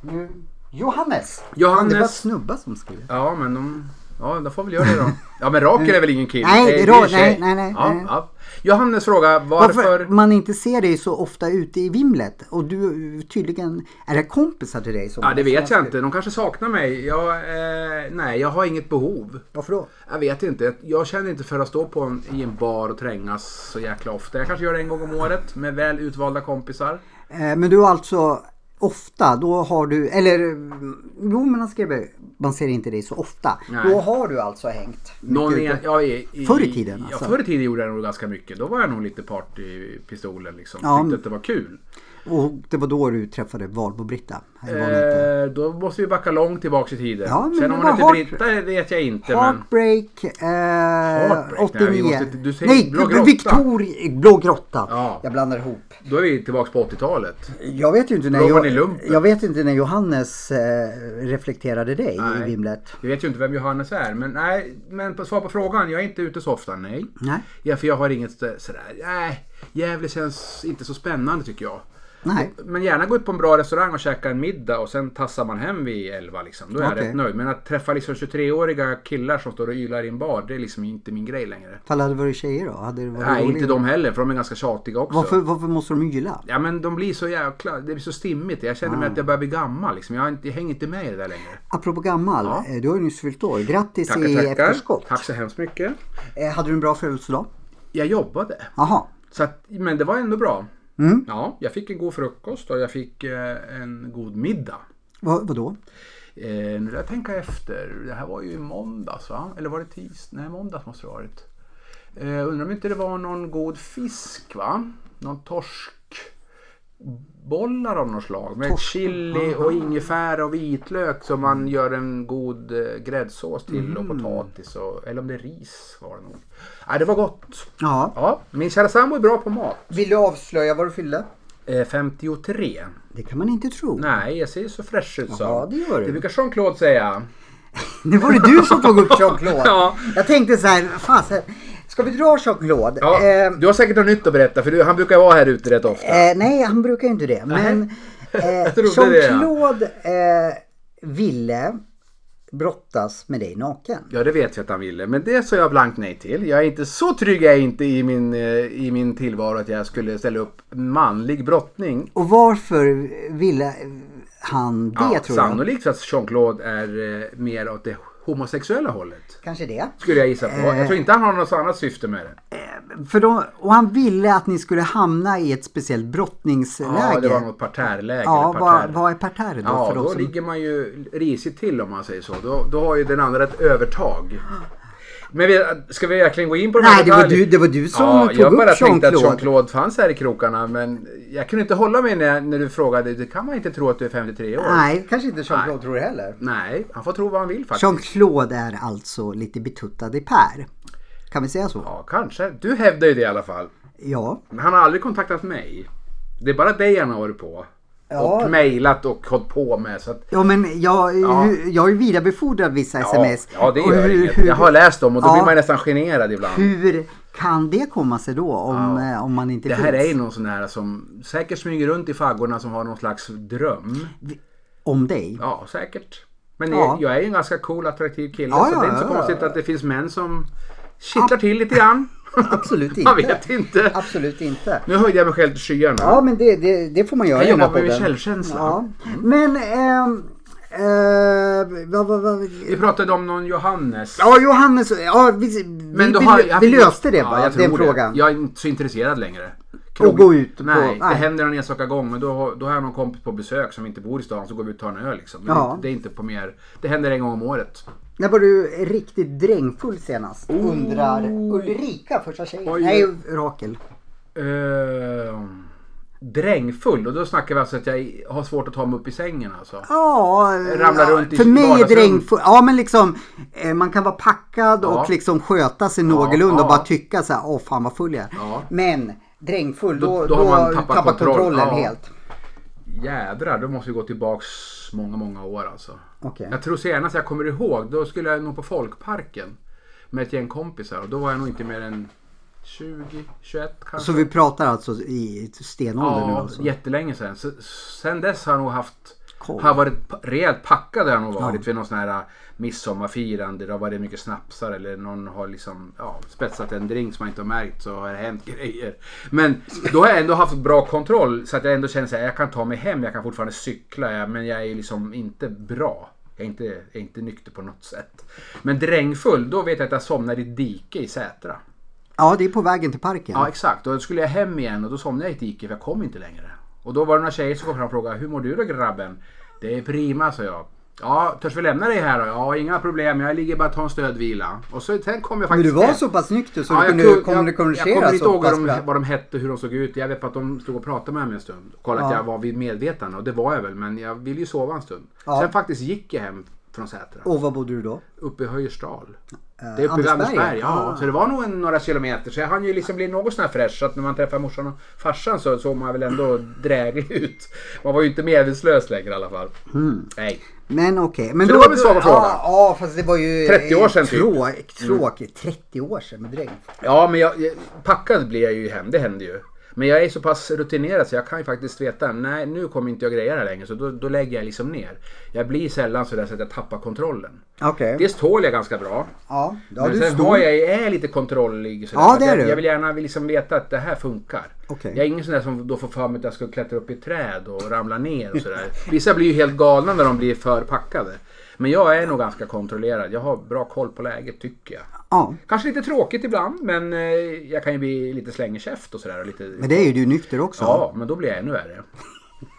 Speaker 1: nu, Johannes.
Speaker 2: Johannes.
Speaker 1: Fan, Det var snubbar som skrev.
Speaker 2: Ja, men de... Ja, då får väl göra det då. Ja, men Rakel är väl ingen kille?
Speaker 1: Nej,
Speaker 2: Eh,
Speaker 1: det är
Speaker 2: är
Speaker 1: Ra-
Speaker 2: en tjej.
Speaker 1: nej, nej, nej,
Speaker 2: Ja,
Speaker 1: nej.
Speaker 2: ja. Johannes fråga varför...
Speaker 1: Varför man inte ser dig så ofta ute i vimlet och du eh, tydligen, är det kompisar till dig? Som
Speaker 2: Ja, det
Speaker 1: som har
Speaker 2: vet jag
Speaker 1: skrivit?
Speaker 2: inte. De kanske saknar mig. Jag, eh, nej, jag har inget behov.
Speaker 1: Varför då?
Speaker 2: Jag vet inte. Jag känner inte för att stå på en, i en bar och trängas så jäkla ofta. Jag kanske gör det en gång om året med väl utvalda kompisar.
Speaker 1: Eh, Men du har alltså ofta, då har du, eller mm, jo men han skrev man ser inte dig så ofta.
Speaker 2: Nej.
Speaker 1: Då har du alltså hängt. mycket
Speaker 2: Någon
Speaker 1: ute.
Speaker 2: är, ja, i, i,
Speaker 1: Förr i tiden,
Speaker 2: Ja,
Speaker 1: alltså.
Speaker 2: förr i tiden gjorde jag nog ganska mycket. Då var jag nog lite partypistolen liksom.
Speaker 1: Ja, men-
Speaker 2: Tyckte att det var kul.
Speaker 1: Och det var då du träffade Valbo-Britta. Eller vad hon hette.
Speaker 2: Eh, då måste vi backa långt tillbaks i tiden.
Speaker 1: Ja, men
Speaker 2: Sen
Speaker 1: det
Speaker 2: om
Speaker 1: var
Speaker 2: hon
Speaker 1: hårt.
Speaker 2: heter Britta det vet jag inte. Men...
Speaker 1: Heartbreak, eh,
Speaker 2: Heartbreak? Nej,
Speaker 1: 89.
Speaker 2: vi måste- du säger Blå grotta.
Speaker 1: Victoria, Blå grotta.
Speaker 2: Ja.
Speaker 1: Jag blandar ihop.
Speaker 2: Då är vi tillbaks på 80-talet.
Speaker 1: Jag vet ju inte när
Speaker 2: Då var
Speaker 1: jag...
Speaker 2: ni lumpen.
Speaker 1: Jag vet inte när Johannes eh, reflekterade dig i
Speaker 2: Nej.
Speaker 1: vimlet.
Speaker 2: Jag vet ju inte vem Johannes är, men nej, men på svar på frågan, jag är inte ute så ofta, nej.
Speaker 1: Nej.
Speaker 2: Ja, för jag har inget eh, sådär, nej, Gävle känns inte så spännande tycker jag.
Speaker 1: Nej.
Speaker 2: Men gärna gå ut på en bra restaurang och käka en middag och sen tassar man hem vid 11 liksom. Då är
Speaker 1: Okej.
Speaker 2: jag rätt nöjd. Men att träffa liksom 23-åriga killar som står och ylar i en bar, det är liksom inte min grej längre.
Speaker 1: Fall hade det varit tjejer då? Hade det varit
Speaker 2: Nej,
Speaker 1: roligt?
Speaker 2: inte de heller, för de är ganska tjatiga också.
Speaker 1: Varför, varför måste de yla?
Speaker 2: Ja men de blir så jäkla, det blir så stimmigt. Jag känner mig
Speaker 1: Ah.
Speaker 2: att jag börjar bli gammal liksom. Jag, har inte, jag hänger inte med i det där längre.
Speaker 1: Apropå gammal,
Speaker 2: Ja.
Speaker 1: eh, du har ju nyss fyllt år. Grattis i
Speaker 2: Tackar, tackar.
Speaker 1: efterskott.
Speaker 2: Tack så hemskt mycket.
Speaker 1: Eh, Hade du en bra födelsedag?
Speaker 2: Jag jobbade.
Speaker 1: Jaha.
Speaker 2: Så att, men det var ändå bra.
Speaker 1: Mm.
Speaker 2: Ja, jag fick en god frukost och jag fick eh, en god middag.
Speaker 1: Vad, vadå?
Speaker 2: Eh, nu vill jag tänka efter. Det här var ju i måndags va? Eller var det tisdag? Nej, måndags måste det ha varit. Eh, undrar om inte det var någon god fisk va? Någon torskbollar av något slag med
Speaker 1: Torsk. Mm.
Speaker 2: chili och ingefära och vitlök som man gör en god eh, gräddsås till och potatis och, eller om det är ris var det nog. Nej, det var gott.
Speaker 1: Ja.
Speaker 2: Ja, min kära sambo är bra på mat.
Speaker 1: Vill du avslöja vad du fyllde?
Speaker 2: Eh, 53.
Speaker 1: Det kan man inte tro.
Speaker 2: Nej, jag ser så fräsch ut så.
Speaker 1: Ja, det gör du.
Speaker 2: Det brukar Jean-Claude säga.
Speaker 1: Nu var det du som tog upp Jean-Claude.
Speaker 2: Ja.
Speaker 1: Jag tänkte så här, fan, så här, ska vi dra Jean-Claude?
Speaker 2: Ja,
Speaker 1: Eh,
Speaker 2: du har säkert något nytt att berätta för du, han brukar vara här ute rätt ofta.
Speaker 1: Eh, nej, han brukar ju inte det. Men eh,
Speaker 2: Jag trodde det.
Speaker 1: Jean-Claude eh, ville brottas med dig naken.
Speaker 2: Ja det vet jag att han ville men det sa jag blankt nej till. Jag är inte så trygg jag är inte i min, eh, i min tillvaro att jag skulle ställa upp manlig brottning.
Speaker 1: Och varför ville han det
Speaker 2: Ja,
Speaker 1: tror du?
Speaker 2: sannolikt för att Jean-Claude är eh, mer åt det homosexuella hållet.
Speaker 1: Kanske det.
Speaker 2: Skulle jag gissa på. Jag
Speaker 1: Eh.
Speaker 2: tror inte han har något annat syfte med det.
Speaker 1: För då, och han ville att ni skulle hamna i ett speciellt brottningsläge.
Speaker 2: Ja, det var något parterrläge.
Speaker 1: Ja,
Speaker 2: eller
Speaker 1: vad,
Speaker 2: parterr.
Speaker 1: vad är parterre då?
Speaker 2: Ja,
Speaker 1: för de
Speaker 2: då
Speaker 1: som...
Speaker 2: ligger man ju risigt till om man säger så. Då, då har ju den andra ett övertag. Men vi, ska vi verkligen gå in på de här
Speaker 1: Nej, det var
Speaker 2: detaljerna?
Speaker 1: du- det var du som
Speaker 2: ja,
Speaker 1: tog
Speaker 2: Jag
Speaker 1: upp
Speaker 2: bara tänkte att
Speaker 1: Jean-Claude.
Speaker 2: Jean-Claude fanns här i krokarna men jag kunde inte hålla mig när, när du frågade. Det kan man inte tro att du är 53 år.
Speaker 1: Nej, kanske inte Jean-Claude tror det heller.
Speaker 2: Nej, han får tro vad han vill faktiskt.
Speaker 1: Jean-Claude är alltså lite betuttad i Per. Kan vi säga så?
Speaker 2: Ja, kanske. Du hävdar ju det i alla fall.
Speaker 1: Ja.
Speaker 2: Men han har aldrig kontaktat mig. Det är bara dig han har varit på.
Speaker 1: Ja.
Speaker 2: Och mejlat och hållit på med. Så att,
Speaker 1: Ja men jag, hur- jag har ju vidarebefordrat vissa sms.
Speaker 2: Ja, ja, det
Speaker 1: Och
Speaker 2: gör
Speaker 1: hur,
Speaker 2: inget. Jag har läst dem och då
Speaker 1: Ja.
Speaker 2: blir man nästan generad ibland.
Speaker 1: Hur kan det komma sig då om,
Speaker 2: Ja.
Speaker 1: eh, om man inte
Speaker 2: Det
Speaker 1: finns?
Speaker 2: här är ju någon sån här som säkert smyger runt i faggorna som har någon slags dröm.
Speaker 1: Om dig?
Speaker 2: Ja, säkert. Men
Speaker 1: Ja.
Speaker 2: jag är ju en ganska cool, attraktiv kille
Speaker 1: Ja,
Speaker 2: så
Speaker 1: ja,
Speaker 2: det är inte
Speaker 1: ja,
Speaker 2: så
Speaker 1: ja,
Speaker 2: konstigt
Speaker 1: ja.
Speaker 2: att det finns män som kittlar till lite grann.
Speaker 1: Absolut
Speaker 2: Man
Speaker 1: inte.
Speaker 2: vet inte.
Speaker 1: Absolut inte.
Speaker 2: Nu höjde jag mig själv till skyarna.
Speaker 1: Ja men det, det, det får man göra
Speaker 2: jag
Speaker 1: i den här
Speaker 2: jobbar med min
Speaker 1: podden.
Speaker 2: självkänsla.
Speaker 1: Ja. Men ehm, eh, vad, vad, vad,
Speaker 2: Vi pratade om någon Johannes.
Speaker 1: Ja Johannes, ja, vi, vi,
Speaker 2: då
Speaker 1: vi,
Speaker 2: har-
Speaker 1: vi
Speaker 2: fick-
Speaker 1: löste det va?
Speaker 2: Ja, jag tror
Speaker 1: den frågan.
Speaker 2: Det. Jag är inte så intresserad längre.
Speaker 1: Och gå ut på-
Speaker 2: Nej,
Speaker 1: nej.
Speaker 2: det händer en enstaka gång. Men då, har- då har jag någon kompis på besök som inte bor i stan så går vi ut och tar en öl liksom. Men
Speaker 1: Ja.
Speaker 2: det- det är inte på mer. Det händer en gång om året.
Speaker 1: När var du riktigt drängfull senast? Undrar Ulrika, första tjejen.
Speaker 2: Oj.
Speaker 1: Nej, Rakel.
Speaker 2: Uh, drängfull och då snackar vi alltså att jag har svårt att ta mig upp i sängen alltså.
Speaker 1: Ja,
Speaker 2: Ramlar
Speaker 1: ja,
Speaker 2: runt i
Speaker 1: för mig är
Speaker 2: vardagsrum.
Speaker 1: drängfull. Ja men liksom eh, man kan vara packad
Speaker 2: Ja.
Speaker 1: och liksom sköta sig någorlunda och
Speaker 2: ja.
Speaker 1: bara tycka så här, åh fan vad full jag är.
Speaker 2: Ja.
Speaker 1: Men drängfull då, då,
Speaker 2: Då- då har man
Speaker 1: har du tappat,
Speaker 2: tappat kontroll.
Speaker 1: kontrollen
Speaker 2: Ja.
Speaker 1: helt.
Speaker 2: Jädrar, då måste vi gå tillbaks många, många år alltså.
Speaker 1: Okej.
Speaker 2: Jag tror senast jag kommer ihåg, då skulle jag nog på Folkparken med ett gäng kompisar och då var jag nog inte mer än 20, 21 kanske.
Speaker 1: Så vi pratar alltså i stenåldern nu
Speaker 2: Ja,
Speaker 1: alltså?
Speaker 2: jättelänge sedan. Så, sen dess har jag nog haft
Speaker 1: Koll.
Speaker 2: har jag varit pa- rejält packad har jag nog varit vid någon sån här äh, midsommarfirande. Då var det mycket snapsar eller någon har liksom ja, spetsat en drink som man inte har märkt så har det hänt grejer. Men då har jag ändå haft bra kontroll så att jag ändå känner så här, jag kan ta mig hem, jag kan fortfarande cykla jag- men jag är liksom inte bra. Jag är inte, jag är inte nykter på något sätt. Men drängfull, då vet jag att jag somnar i ett dike i Sätra.
Speaker 1: Ja det är på vägen till parken.
Speaker 2: Ja exakt, och då skulle jag hem igen och då somnade jag i ett dike för jag kom inte längre. Och då var det några tjejer som kom fram och frågade hur mår du då grabben? Det är prima sa jag. Ja, törs vi lämna dig här då? Ja, inga problem. Jag ligger bara och tar en stödvila. Och så, sen kom jag
Speaker 1: men du
Speaker 2: faktiskt
Speaker 1: var
Speaker 2: hem.
Speaker 1: så pass nykter så
Speaker 2: Ja,
Speaker 1: du
Speaker 2: jag
Speaker 1: kunde
Speaker 2: kunde-
Speaker 1: kom,
Speaker 2: jag-
Speaker 1: kommunicera
Speaker 2: Jag kommer inte
Speaker 1: så
Speaker 2: ihåg
Speaker 1: pass
Speaker 2: vad
Speaker 1: bra.
Speaker 2: de, vad de hette och hur de såg ut. Jag vet bara att de stod och pratade med mig en stund. Kollade
Speaker 1: Ja.
Speaker 2: att jag var vid medvetande och det var jag väl. Men jag ville ju sova en stund.
Speaker 1: Ja.
Speaker 2: Sen faktiskt gick jag hem från Sätra.
Speaker 1: Och var bodde du då?
Speaker 2: Uppe i Höjersdal.
Speaker 1: eh,
Speaker 2: Det är uppe vid
Speaker 1: Andersberga.
Speaker 2: Andersberg, ja. Så det var nog en, några kilometer. Så jag hann ju liksom bli något sån här fräsch. Så att när man träffar morsan och farsan så såg man väl ändå dräglig ut. Man var ju inte medvetslös längre i alla fall. Nej.
Speaker 1: Men okej. Men
Speaker 2: Så
Speaker 1: då,
Speaker 2: det var min svar på
Speaker 1: ja,
Speaker 2: frågan.
Speaker 1: Ja, fast det var ju
Speaker 2: 30 år sedan typ. Mm.
Speaker 1: trå, tråkigt. 30 år sedan med dräkt.
Speaker 2: Ja, men jag, jag- packad blir jag ju hem. Det händer ju. Men jag är så pass rutinerad så jag kan ju faktiskt veta, nej nu kommer inte jag greja det här längre. Så då, då lägger jag liksom ner. Jag blir sällan sådär så att jag tappar kontrollen.
Speaker 1: Okej.
Speaker 2: Dels tål jag ganska bra.
Speaker 1: Ja, ja
Speaker 2: men
Speaker 1: du är
Speaker 2: sen
Speaker 1: stor.
Speaker 2: har jag, är lite kontrollig. sådär.
Speaker 1: Ja,
Speaker 2: Att
Speaker 1: det är
Speaker 2: jag,
Speaker 1: du.
Speaker 2: jag vill gärna liksom veta att det här funkar.
Speaker 1: Okej.
Speaker 2: Jag är ingen sån där som då får för mig att jag ska klättra upp i ett träd och ramla ner och sådär. Vissa blir ju helt galna när de blir för packade. Men jag är nog ganska kontrollerad. Jag har bra koll på läget tycker jag.
Speaker 1: Ja,
Speaker 2: Kanske lite tråkigt ibland men eh, jag kan ju bli lite slängkäft och sådär. och Lite...
Speaker 1: men det är ju du nykter också.
Speaker 2: Ja, men då blir jag ännu värre.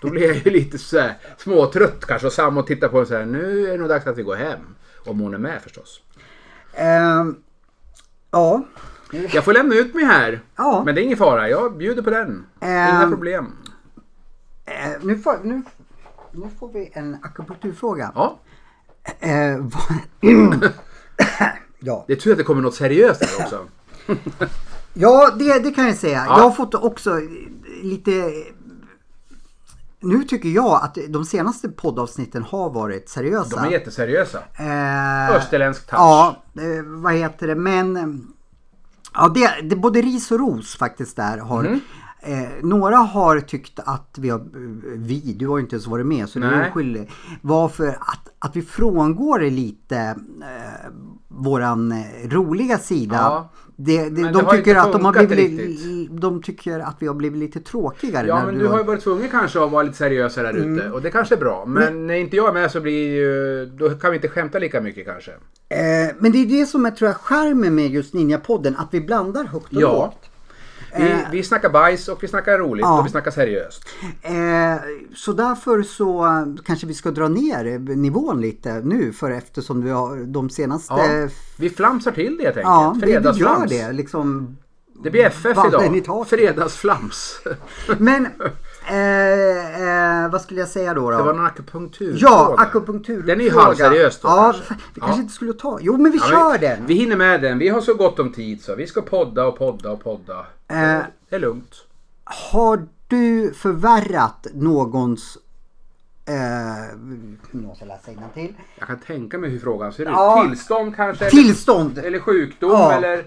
Speaker 2: Då blir jag ju lite såhär småtrött kanske och Sam och tittar på mig såhär, nu är det nog dags att vi går hem. Om hon är med förstås.
Speaker 1: Ehm, ja.
Speaker 2: Jag får lämna ut mig här.
Speaker 1: Ja.
Speaker 2: Men det är ingen fara, jag bjuder på den. Inga
Speaker 1: Ehm.
Speaker 2: problem.
Speaker 1: Eh, nu, får, nu, nu får vi en akupunkturfråga.
Speaker 2: Ja,
Speaker 1: Eh, vad, ja.
Speaker 2: det är tur att det kommer något seriöst här också.
Speaker 1: ja, det, det kan jag säga.
Speaker 2: Ja.
Speaker 1: Jag har fått också lite... Nu tycker jag att de senaste poddavsnitten har varit seriösa.
Speaker 2: De är jätteseriösa.
Speaker 1: Eh,
Speaker 2: Österländsk touch.
Speaker 1: Ja, eh, vad heter det, men... eh, Ja, det, det, både ris och ros faktiskt där har...
Speaker 2: Mm.
Speaker 1: Eh, några har tyckt att vi har, eh, vi, du har ju inte ens varit med så du är
Speaker 2: Nej.
Speaker 1: oskyldig. Varför att, att vi frångår det lite eh, våran eh, roliga sida.
Speaker 2: Ja.
Speaker 1: Det, det,
Speaker 2: Men
Speaker 1: de,
Speaker 2: det har
Speaker 1: tycker
Speaker 2: inte
Speaker 1: att de, har
Speaker 2: funkat
Speaker 1: blivit,
Speaker 2: riktigt.
Speaker 1: de tycker att vi har blivit lite tråkigare.
Speaker 2: Ja
Speaker 1: när Mm.
Speaker 2: men du har ju varit tvungen kanske att vara lite seriös här ute och det kanske är bra. Men när inte jag är med så blir ju, då kan vi inte skämta lika mycket kanske.
Speaker 1: eh, men det är det som är tror jag charmen med just Ninja-podden, att vi blandar högt och
Speaker 2: Ja.
Speaker 1: lågt. Eh.
Speaker 2: Vi, vi snackar bajs och vi snackar roligt
Speaker 1: Ja.
Speaker 2: och vi snackar seriöst.
Speaker 1: Eh, så därför så eh, kanske vi ska dra ner nivån lite nu för eftersom vi har de senaste...
Speaker 2: Ja.
Speaker 1: Ja,
Speaker 2: Vi flamsar till det helt enkelt.
Speaker 1: vi, vi gör
Speaker 2: Fredagsflams.
Speaker 1: det liksom.
Speaker 2: Det blir FF
Speaker 1: Vatten i
Speaker 2: idag.
Speaker 1: taket.
Speaker 2: Fredagsflams.
Speaker 1: Men eh, eh, vad skulle jag säga då? då?
Speaker 2: Det var någon akupunktur.
Speaker 1: ja, akupunktur.
Speaker 2: Den är ju halvseriös då.
Speaker 1: Ja,
Speaker 2: kanske.
Speaker 1: vi
Speaker 2: Ja.
Speaker 1: kanske inte skulle ta... Jo, men vi
Speaker 2: Ja,
Speaker 1: kör
Speaker 2: vi,
Speaker 1: den.
Speaker 2: Vi hinner med den. Vi har så gott om tid så. Vi ska podda och podda och podda.
Speaker 1: Eh.
Speaker 2: Det är lugnt.
Speaker 1: Har du förvärrat någons... Eh, nu måste jag läsa innantill.
Speaker 2: Jag kan tänka mig hur frågan ser
Speaker 1: Ja.
Speaker 2: ut. Tillstånd kanske?
Speaker 1: Tillstånd
Speaker 2: Eller sjukdom
Speaker 1: Ja.
Speaker 2: eller?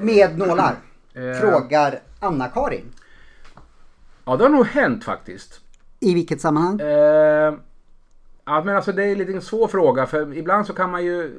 Speaker 1: med nålar.
Speaker 2: Eh.
Speaker 1: Frågar Anna-Karin.
Speaker 2: Ja, det har nog hänt faktiskt.
Speaker 1: I vilket sammanhang?
Speaker 2: Eh, ja, men alltså det är lite en svår fråga för ibland så kan man ju...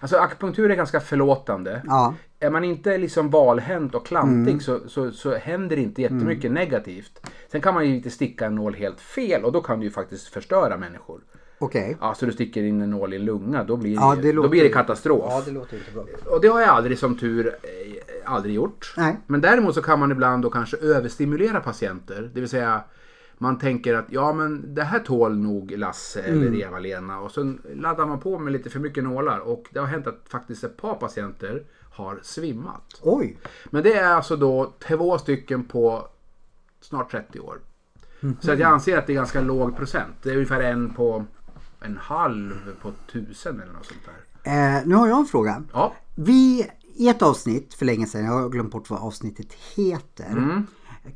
Speaker 2: Alltså akupunktur är ganska förlåtande.
Speaker 1: Ja.
Speaker 2: Är man inte liksom valhänt och klantig
Speaker 1: Mm.
Speaker 2: så, så, så händer det inte jättemycket negativt. Sen kan man ju inte sticka en nål helt fel och då kan du ju faktiskt förstöra människor.
Speaker 1: Okej.
Speaker 2: Ja, så du sticker in en nål i en lunga, då blir,
Speaker 1: Ja,
Speaker 2: det,
Speaker 1: det
Speaker 2: då
Speaker 1: låter-
Speaker 2: blir det katastrof.
Speaker 1: Ja, det låter inte bra.
Speaker 2: Och det har jag aldrig som tur eh, aldrig gjort.
Speaker 1: Nej.
Speaker 2: Men däremot så kan man ibland då kanske överstimulera patienter. Det vill säga man tänker att ja men det här tål nog Lasse
Speaker 1: Mm.
Speaker 2: eller Eva-Lena och så laddar man på med lite för mycket nålar och det har hänt att faktiskt ett par patienter har svimmat.
Speaker 1: Oj!
Speaker 2: Men det är alltså då två stycken på snart 30 år. Så
Speaker 1: Mhm.
Speaker 2: att jag anser att det är ganska låg procent. Det är ungefär en på en halv på tusen eller något sånt där.
Speaker 1: Eh, nu har jag en fråga.
Speaker 2: Ja,
Speaker 1: Vi, i ett avsnitt för länge sedan, jag har glömt bort vad avsnittet heter.
Speaker 2: Mm.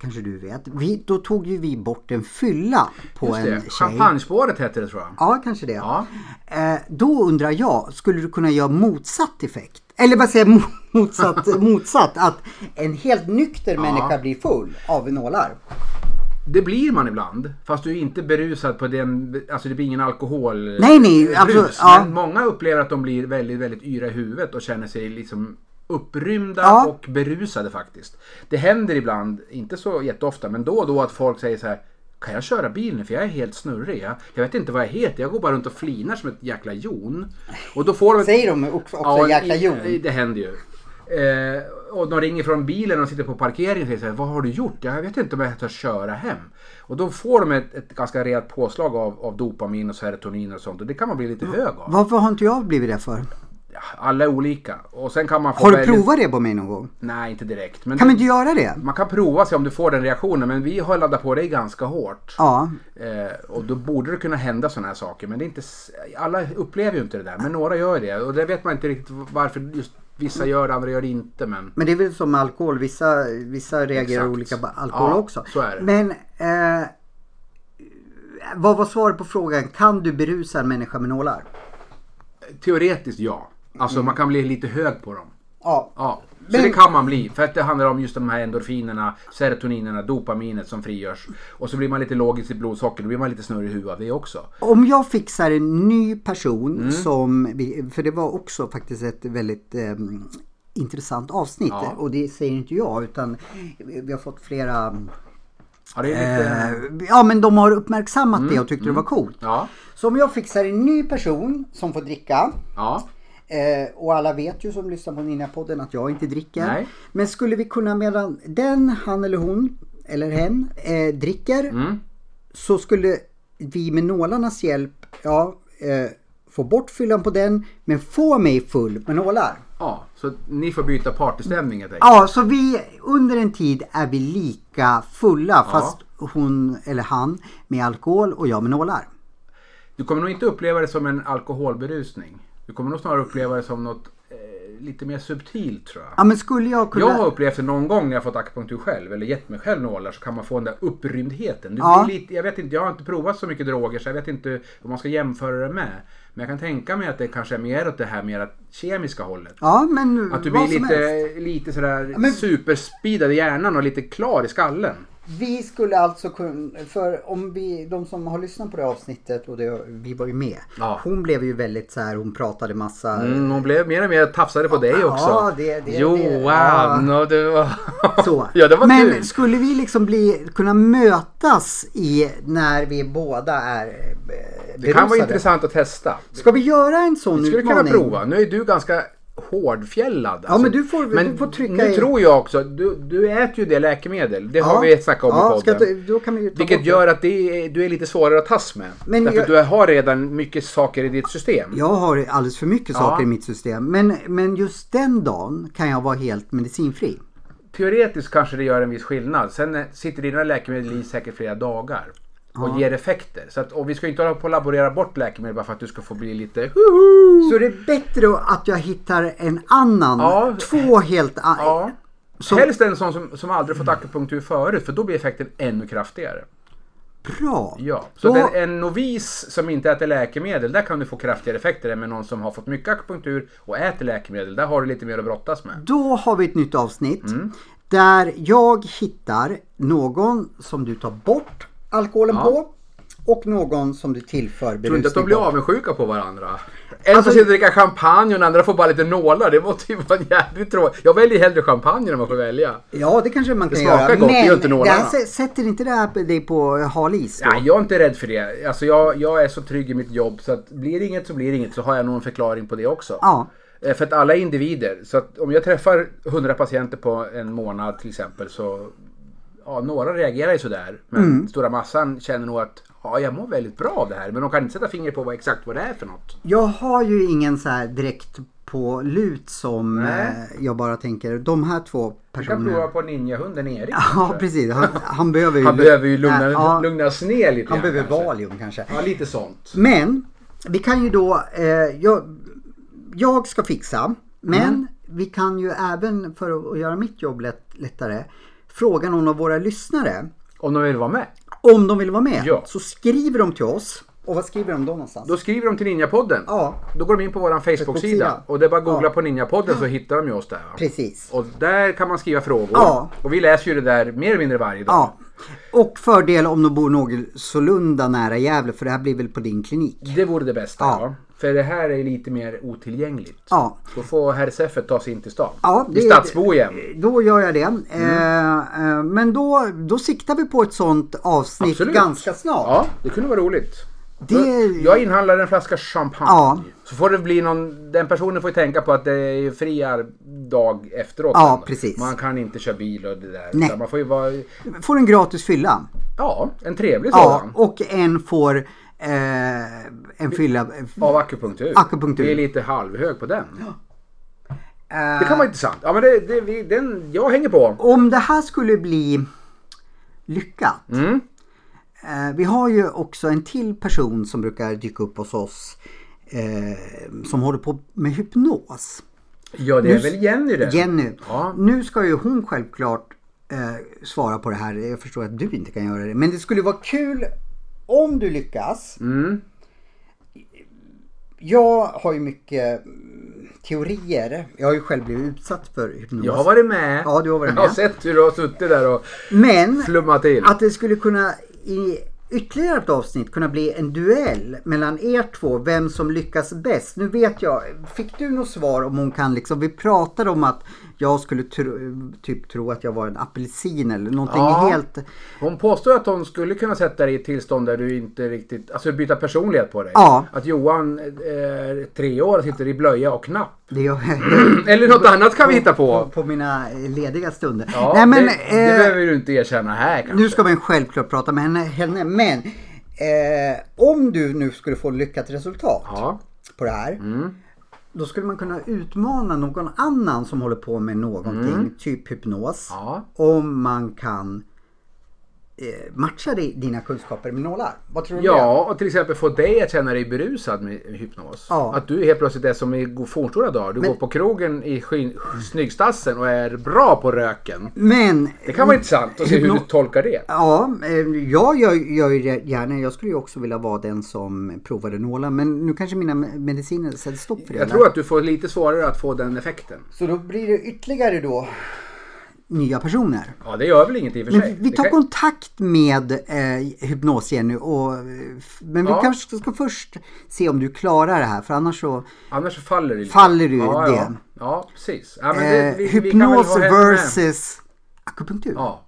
Speaker 1: Kanske du vet. Vi, då tog ju vi bort en fylla på
Speaker 2: just
Speaker 1: en
Speaker 2: det.
Speaker 1: tjej.
Speaker 2: Champagnespåret hette det tror jag.
Speaker 1: Ja, kanske det.
Speaker 2: Ja.
Speaker 1: Eh, då undrar jag, skulle du kunna göra motsatt effekt? Eller vad säger jag? motsatt, motsatt? Att en helt nykter människa blir full av nålar.
Speaker 2: Det blir man ibland, fast du är inte berusad på den, alltså det blir ingen alkohol eh,
Speaker 1: Nej, nej,
Speaker 2: brus.
Speaker 1: absolut, ja.
Speaker 2: Men många upplever att de blir väldigt, väldigt yra i huvudet och känner sig liksom upprymda
Speaker 1: Ja.
Speaker 2: och berusade faktiskt. Det händer ibland, inte så jätteofta, men då och då att folk säger så här kan jag köra bil nu? För jag är helt snurrig. Jag, jag vet inte vad jag heter. Jag går bara runt och flinar som ett jäkla jon. Och då får de ett-
Speaker 1: Säger de också, också jäkla
Speaker 2: i-
Speaker 1: jon?
Speaker 2: i- Det händer ju. Eh, och de ringer från bilen och sitter på parkeringen och säger så här, Vad har du gjort? Jag vet inte om jag ska köra hem. Och då får de ett, ett ganska rejält påslag av, av dopamin och serotonin och sånt. Och det kan man bli lite hög av.
Speaker 1: Varför har inte jag blivit det för?
Speaker 2: ja, alla är olika. Och sen kan man få
Speaker 1: Har du
Speaker 2: välja-
Speaker 1: provat det på mig någon gång?
Speaker 2: Nej, inte direkt. Men
Speaker 1: Kan vi inte göra det?
Speaker 2: man kan prova sig om du får den reaktionen. Men vi har laddat på dig ganska hårt.
Speaker 1: Ja.
Speaker 2: Eh, och då borde det kunna hända sådana här saker. Men det är inte, s- alla upplever ju inte det där. Men några gör det. Och det vet man inte riktigt varför just vissa gör det, andra gör det inte. Men
Speaker 1: Men det är väl som med alkohol, vissa, vissa reagerar
Speaker 2: Exakt.
Speaker 1: olika på alkohol
Speaker 2: Ja,
Speaker 1: också.
Speaker 2: så är det.
Speaker 1: Men eh, vad var svaret på frågan? Kan du berusa en människa med nålar?
Speaker 2: teoretiskt ja. Alltså man kan bli lite hög på dem.
Speaker 1: Ja.
Speaker 2: Ja, så
Speaker 1: Mm. Men-
Speaker 2: det kan man bli. För att det handlar om just de här endorfinerna, serotoninerna, dopaminet som frigörs. Och så blir man lite låg i sitt blodsocker, då blir man lite snurrig i huvudet av det också.
Speaker 1: Om jag fixar en ny person som, vi- för det var också faktiskt ett väldigt eh, intressant avsnitt
Speaker 2: Ja.
Speaker 1: och det säger inte jag utan vi har fått flera,
Speaker 2: Ja, det är lite...
Speaker 1: eh, ja men de har uppmärksammat det och tyckte det var coolt.
Speaker 2: Ja,
Speaker 1: Så om jag fixar en ny person som får dricka
Speaker 2: ja.
Speaker 1: Eh, och alla vet ju som lyssnar på Ninja-podden att jag inte dricker.
Speaker 2: Nej.
Speaker 1: Men skulle vi kunna medan den, han eller hon, eller hen, eh, dricker.
Speaker 2: Mm.
Speaker 1: Så skulle vi med nålarnas hjälp, ja, eh, få bort fyllan på den. Men få mig full med nålar.
Speaker 2: ja. Så ni får byta partystämning helt enkelt.
Speaker 1: Ja, så vi under en tid är vi lika fulla fast hon eller han med alkohol och jag med nålar.
Speaker 2: Du kommer nog inte uppleva det som en alkoholberusning. Du kommer nog snarare uppleva det som något eh, lite mer subtilt tror jag.
Speaker 1: Ja, men skulle jag kunna...
Speaker 2: Jag har upplevt det någon gång när jag fått akupunktur själv eller gett mig själv nålar så kan man få den där upprymdheten. Du
Speaker 1: Ja.
Speaker 2: blir lite, jag, vet inte, jag har inte provat så mycket droger så jag vet inte vad man ska jämföra det med. Men jag kan tänka mig att det kanske är mer åt det här mer kemiska hållet.
Speaker 1: Ja, men
Speaker 2: Att du
Speaker 1: vad
Speaker 2: blir
Speaker 1: som helst.
Speaker 2: lite, lite sådär
Speaker 1: men-
Speaker 2: superspeedad i hjärnan och lite klar i skallen.
Speaker 1: Vi skulle alltså kunna, för om vi, de som har lyssnat på det här avsnittet och det, vi var ju med.
Speaker 2: Ja.
Speaker 1: Hon blev ju väldigt så här, hon pratade massa.
Speaker 2: Mm, hon blev mer och mer tafsade på dig också.
Speaker 1: ja, det- det-
Speaker 2: Johan och du var...
Speaker 1: Så.
Speaker 2: ja, det var
Speaker 1: Men
Speaker 2: kul.
Speaker 1: skulle vi liksom bli, kunna mötas i när vi båda är eh,
Speaker 2: Det kan vara
Speaker 1: berusade?
Speaker 2: intressant att testa.
Speaker 1: Ska vi göra en sån
Speaker 2: Vi skulle kunna
Speaker 1: utmaning?
Speaker 2: prova. Nu är du ganska hårdfjällad. alltså.
Speaker 1: men du får-
Speaker 2: men
Speaker 1: du får trycka
Speaker 2: Nu
Speaker 1: i-
Speaker 2: tror jag också, du, du äter ju det läkemedel. Det har vi snackat om
Speaker 1: ja,
Speaker 2: i podden.
Speaker 1: Ska, jag ta- då kan vi ju ta
Speaker 2: Vilket
Speaker 1: bort det.
Speaker 2: gör att det är, du är lite svårare att tas med.
Speaker 1: Men
Speaker 2: Därför
Speaker 1: jag-
Speaker 2: att du har redan mycket saker i ditt system.
Speaker 1: Jag har alldeles för mycket saker i mitt system. Men, men just den dagen kan jag vara helt medicinfri.
Speaker 2: Teoretiskt kanske det gör en viss skillnad. Sen eh, sitter dina läkemedel i säkert flera dagar. Och ger effekter. Så att, och vi ska ju inte hålla på och laborera bort läkemedel bara för att du ska få bli lite...
Speaker 1: Så det är bättre att jag hittar en annan,
Speaker 2: Ja.
Speaker 1: två helt a-
Speaker 2: Ja.
Speaker 1: Så-
Speaker 2: Helst en sån som, som aldrig fått akupunktur förut för då blir effekten ännu kraftigare.
Speaker 1: bra.
Speaker 2: Ja, så
Speaker 1: Då-
Speaker 2: den, en novis som inte äter läkemedel, där kan du få kraftigare effekter än med någon som har fått mycket akupunktur och äter läkemedel. Där har du lite mer att brottas med.
Speaker 1: Då har vi ett nytt avsnitt
Speaker 2: Mm.
Speaker 1: där jag hittar någon som du tar bort alkoholen på och någon som du tillför
Speaker 2: Tror inte att de
Speaker 1: berusning
Speaker 2: blir
Speaker 1: på.
Speaker 2: avundsjuka på varandra? En
Speaker 1: Alltså-
Speaker 2: får sitta och dricka champagne och den andra får bara lite nålar. Det måste ju vara en jävligt tråkigt. Jag väljer hellre champagne om man får välja.
Speaker 1: Ja, det kanske man kan
Speaker 2: smakar
Speaker 1: göra.
Speaker 2: gott, det är ju inte
Speaker 1: Men det här
Speaker 2: nålarna.
Speaker 1: sä- sätter inte det här på dig på hal is då?
Speaker 2: Nej, jag är inte rädd för det. Alltså, jag, jag är så trygg i mitt jobb så att blir det inget så blir det inget. Så har jag nog en förklaring på det också.
Speaker 1: Ja.
Speaker 2: Eh, För att alla är individer. Så att om jag träffar 100 patienter på en månad till exempel så ja, några reagerar ju sådär. Men
Speaker 1: Mm.
Speaker 2: stora massan känner nog att ja, jag mår väldigt bra av det här. Men de kan inte sätta fingret på vad, exakt vad det är för något.
Speaker 1: Jag har ju ingen så här direkt på lut som
Speaker 2: Nej.
Speaker 1: eh, jag bara tänker, de här två
Speaker 2: Du kan
Speaker 1: personerna.
Speaker 2: prova på ninjahunden Erik.
Speaker 1: Mm. Ja, precis. Han, han behöver ju,
Speaker 2: Han behöver ju lugna,
Speaker 1: Nej, ja.
Speaker 2: lugnas ner lite
Speaker 1: Han
Speaker 2: grann
Speaker 1: behöver
Speaker 2: kanske.
Speaker 1: Valium kanske.
Speaker 2: Ja, lite sånt.
Speaker 1: Men vi kan ju då, eh, jag, jag ska fixa, men vi kan ju även för att- att göra mitt jobb lätt, lättare fråga någon av våra lyssnare
Speaker 2: Om de vill vara med.
Speaker 1: om de vill vara med.
Speaker 2: Ja.
Speaker 1: Så skriver de till oss. Och vad skriver de då någonstans?
Speaker 2: Då skriver de till Ninjapodden.
Speaker 1: Ja.
Speaker 2: Då går de in på vår
Speaker 1: Facebook-sida.
Speaker 2: Facebook-sida. Och det är bara att googla
Speaker 1: Ja.
Speaker 2: på Ninjapodden så hittar de ju oss där. va?
Speaker 1: Precis.
Speaker 2: Och där kan man skriva frågor.
Speaker 1: Ja.
Speaker 2: Och vi läser ju det där mer eller mindre varje dag.
Speaker 1: Ja. Och fördel om de bor någorlunda nära Gävle för det här blir väl på din klinik.
Speaker 2: Det vore det bästa.
Speaker 1: Ja.
Speaker 2: Ja. För det här är lite mer otillgängligt.
Speaker 1: Ja.
Speaker 2: Då får herr Seffert ta sig in till stan.
Speaker 1: Ja,
Speaker 2: det är stadsbo igen. Mm.
Speaker 1: Då gör jag det. Eh, eh, men då, då siktar vi på ett sånt avsnitt
Speaker 2: Absolut.
Speaker 1: ganska snart.
Speaker 2: Ja, det kunde vara roligt.
Speaker 1: Det-
Speaker 2: Jag inhandlar en flaska champagne.
Speaker 1: Ja.
Speaker 2: Så får det bli någon, den personen får ju tänka på att det är ju fri ar- dag efteråt.
Speaker 1: Ja,
Speaker 2: sen.
Speaker 1: precis.
Speaker 2: Man kan inte köra bil och det där.
Speaker 1: Nej.
Speaker 2: utan Man får ju vara,
Speaker 1: Får en gratis fylla.
Speaker 2: ja, en trevlig
Speaker 1: Ja,
Speaker 2: sådan.
Speaker 1: och en får eh, en fylla.
Speaker 2: Av akupunktur.
Speaker 1: Akupunktur.
Speaker 2: Det är lite halvhög på den.
Speaker 1: Eh,
Speaker 2: Det kan vara intressant. Ja, men det, det, vi, den, jag hänger på.
Speaker 1: Om det här skulle bli lyckat.
Speaker 2: Mm.
Speaker 1: Eh, vi har ju också en till person som brukar dyka upp hos oss. Eh, som håller på med hypnos.
Speaker 2: Ja, det är väl Jenny det.
Speaker 1: Jenny.
Speaker 2: Ja.
Speaker 1: Nu ska ju hon självklart eh, svara på det här. Jag förstår att du inte kan göra det. Men det skulle vara kul om du lyckas.
Speaker 2: Mm.
Speaker 1: Jag har ju mycket mm, teorier. Jag har ju själv blivit utsatt för hypnos.
Speaker 2: Jag har varit med.
Speaker 1: Ja, du har varit
Speaker 2: Jag har
Speaker 1: med.
Speaker 2: sett hur du har suttit där och
Speaker 1: Men
Speaker 2: flummat till.
Speaker 1: att det skulle kunna i ytterligare ett avsnitt kunna bli en duell mellan er två. Vem som lyckas bäst. Nu vet jag. Fick du något svar om hon kan liksom. Vi pratade om att jag skulle tro, typ tro att jag var en apelsin eller någonting
Speaker 2: Ja.
Speaker 1: helt.
Speaker 2: Hon påstår att hon skulle kunna sätta dig i ett tillstånd där du inte riktigt, alltså byta personlighet på dig.
Speaker 1: Ja.
Speaker 2: Att Johan eh, är tre år och sitter i blöja och knapp.
Speaker 1: Det gör jag.
Speaker 2: Eller något annat kan vi hitta på.
Speaker 1: På mina lediga stunder.
Speaker 2: Ja,
Speaker 1: Nej men.
Speaker 2: det, det
Speaker 1: eh,
Speaker 2: behöver du inte erkänna här kanske.
Speaker 1: Nu ska man självklart prata med henne. henne men eh, om du nu skulle få lyckat resultat
Speaker 2: Ja.
Speaker 1: på det här.
Speaker 2: Mm.
Speaker 1: Då skulle man kunna utmana någon annan som håller på med någonting, typ hypnos.
Speaker 2: Mm. Ja.
Speaker 1: Om man kan eh, matcha di- dina kunskaper med nålar. Vad tror du om det?
Speaker 2: Ja, och till exempel få dig att känna dig berusad med hypnos.
Speaker 1: Ja.
Speaker 2: Att du helt plötsligt är som i go- fornstora dagar. Du går på krogen i skyn, snyggstassen och är bra på röken.
Speaker 1: Men
Speaker 2: Det kan vara intressant att se hur du tolkar det.
Speaker 1: Mm. Ja, eh, jag gör, gör ju det gärna. Jag skulle ju också vilja vara den som provade nålar. Men nu kanske mina me- mediciner sätter stopp för det.
Speaker 2: Jag
Speaker 1: eller?
Speaker 2: tror att du får lite svårare att få den effekten.
Speaker 1: Så då blir det ytterligare då nya personer.
Speaker 2: Ja, det gör väl inget i och för
Speaker 1: Men
Speaker 2: sig.
Speaker 1: vi- vi
Speaker 2: Det
Speaker 1: tar
Speaker 2: kan-
Speaker 1: kontakt med eh, Hypnos-Jenny och eh, f- men vi
Speaker 2: Ja.
Speaker 1: kanske ska först se om du klarar det här för annars så
Speaker 2: Annars så faller det lite.
Speaker 1: faller du
Speaker 2: ja,
Speaker 1: det.
Speaker 2: Ja, ja precis. Ja, men
Speaker 1: Eh,
Speaker 2: det, vi, vi kan väl
Speaker 1: hypnos
Speaker 2: ha henne med.
Speaker 1: versus akupunktur.
Speaker 2: Ja.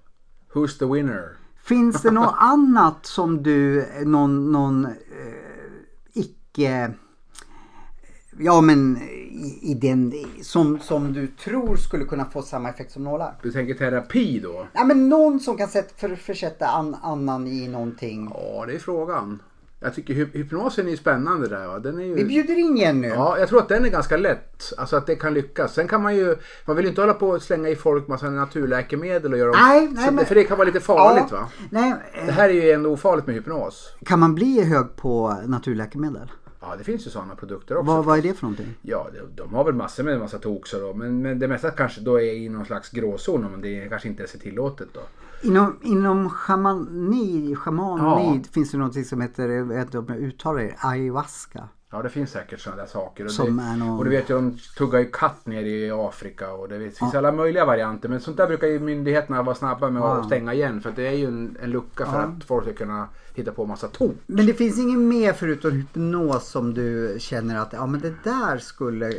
Speaker 2: Who's the winner?
Speaker 1: Finns det något annat som du, eh, någon, någon eh, icke... Ja men i, i den, som, som du tror skulle kunna få samma effekt som nålar?
Speaker 2: Du tänker terapi då?
Speaker 1: Ja men någon som kan sätt, för, försätta an, annan i någonting.
Speaker 2: Ja, det är frågan. Jag tycker hy- hypnosen är ju spännande där va. Den är ju...
Speaker 1: Vi bjuder in Jenny.
Speaker 2: Ja, jag tror att den är ganska lätt. Alltså att det kan lyckas. Sen kan man ju, man vill ju inte hålla på och slänga i folk massa naturläkemedel och göra dem-
Speaker 1: Nej, nej,
Speaker 2: så,
Speaker 1: men-
Speaker 2: För det kan vara lite farligt va?
Speaker 1: Nej,
Speaker 2: Det
Speaker 1: eh,
Speaker 2: här är ju ändå ofarligt med hypnos.
Speaker 1: kan man bli hög på naturläkemedel?
Speaker 2: Ja, det finns ju sådana produkter också.
Speaker 1: Vad, vad är det för någonting?
Speaker 2: Ja, de, de har väl massor med en massa toxer då. Men, men det mesta kanske då är i någon slags gråzon. Men det är kanske inte ens är tillåtet då.
Speaker 1: Inom, inom shamani, shamani
Speaker 2: Ja.
Speaker 1: finns det någonting som heter, jag vet inte om jag uttalar det, ayahuasca.
Speaker 2: Ja, det finns säkert sådana där saker. Och,
Speaker 1: Som
Speaker 2: det,
Speaker 1: är någon-
Speaker 2: och du vet ju, de tuggar ju katt ner i Afrika och det finns alla möjliga varianter. Men sånt där brukar ju myndigheterna vara snabba med att stänga igen. För att det är ju en, en lucka för att folk ska kunna hitta på massa tok.
Speaker 1: Men det finns inget mer förutom hypnos som du känner att, ja men det där skulle...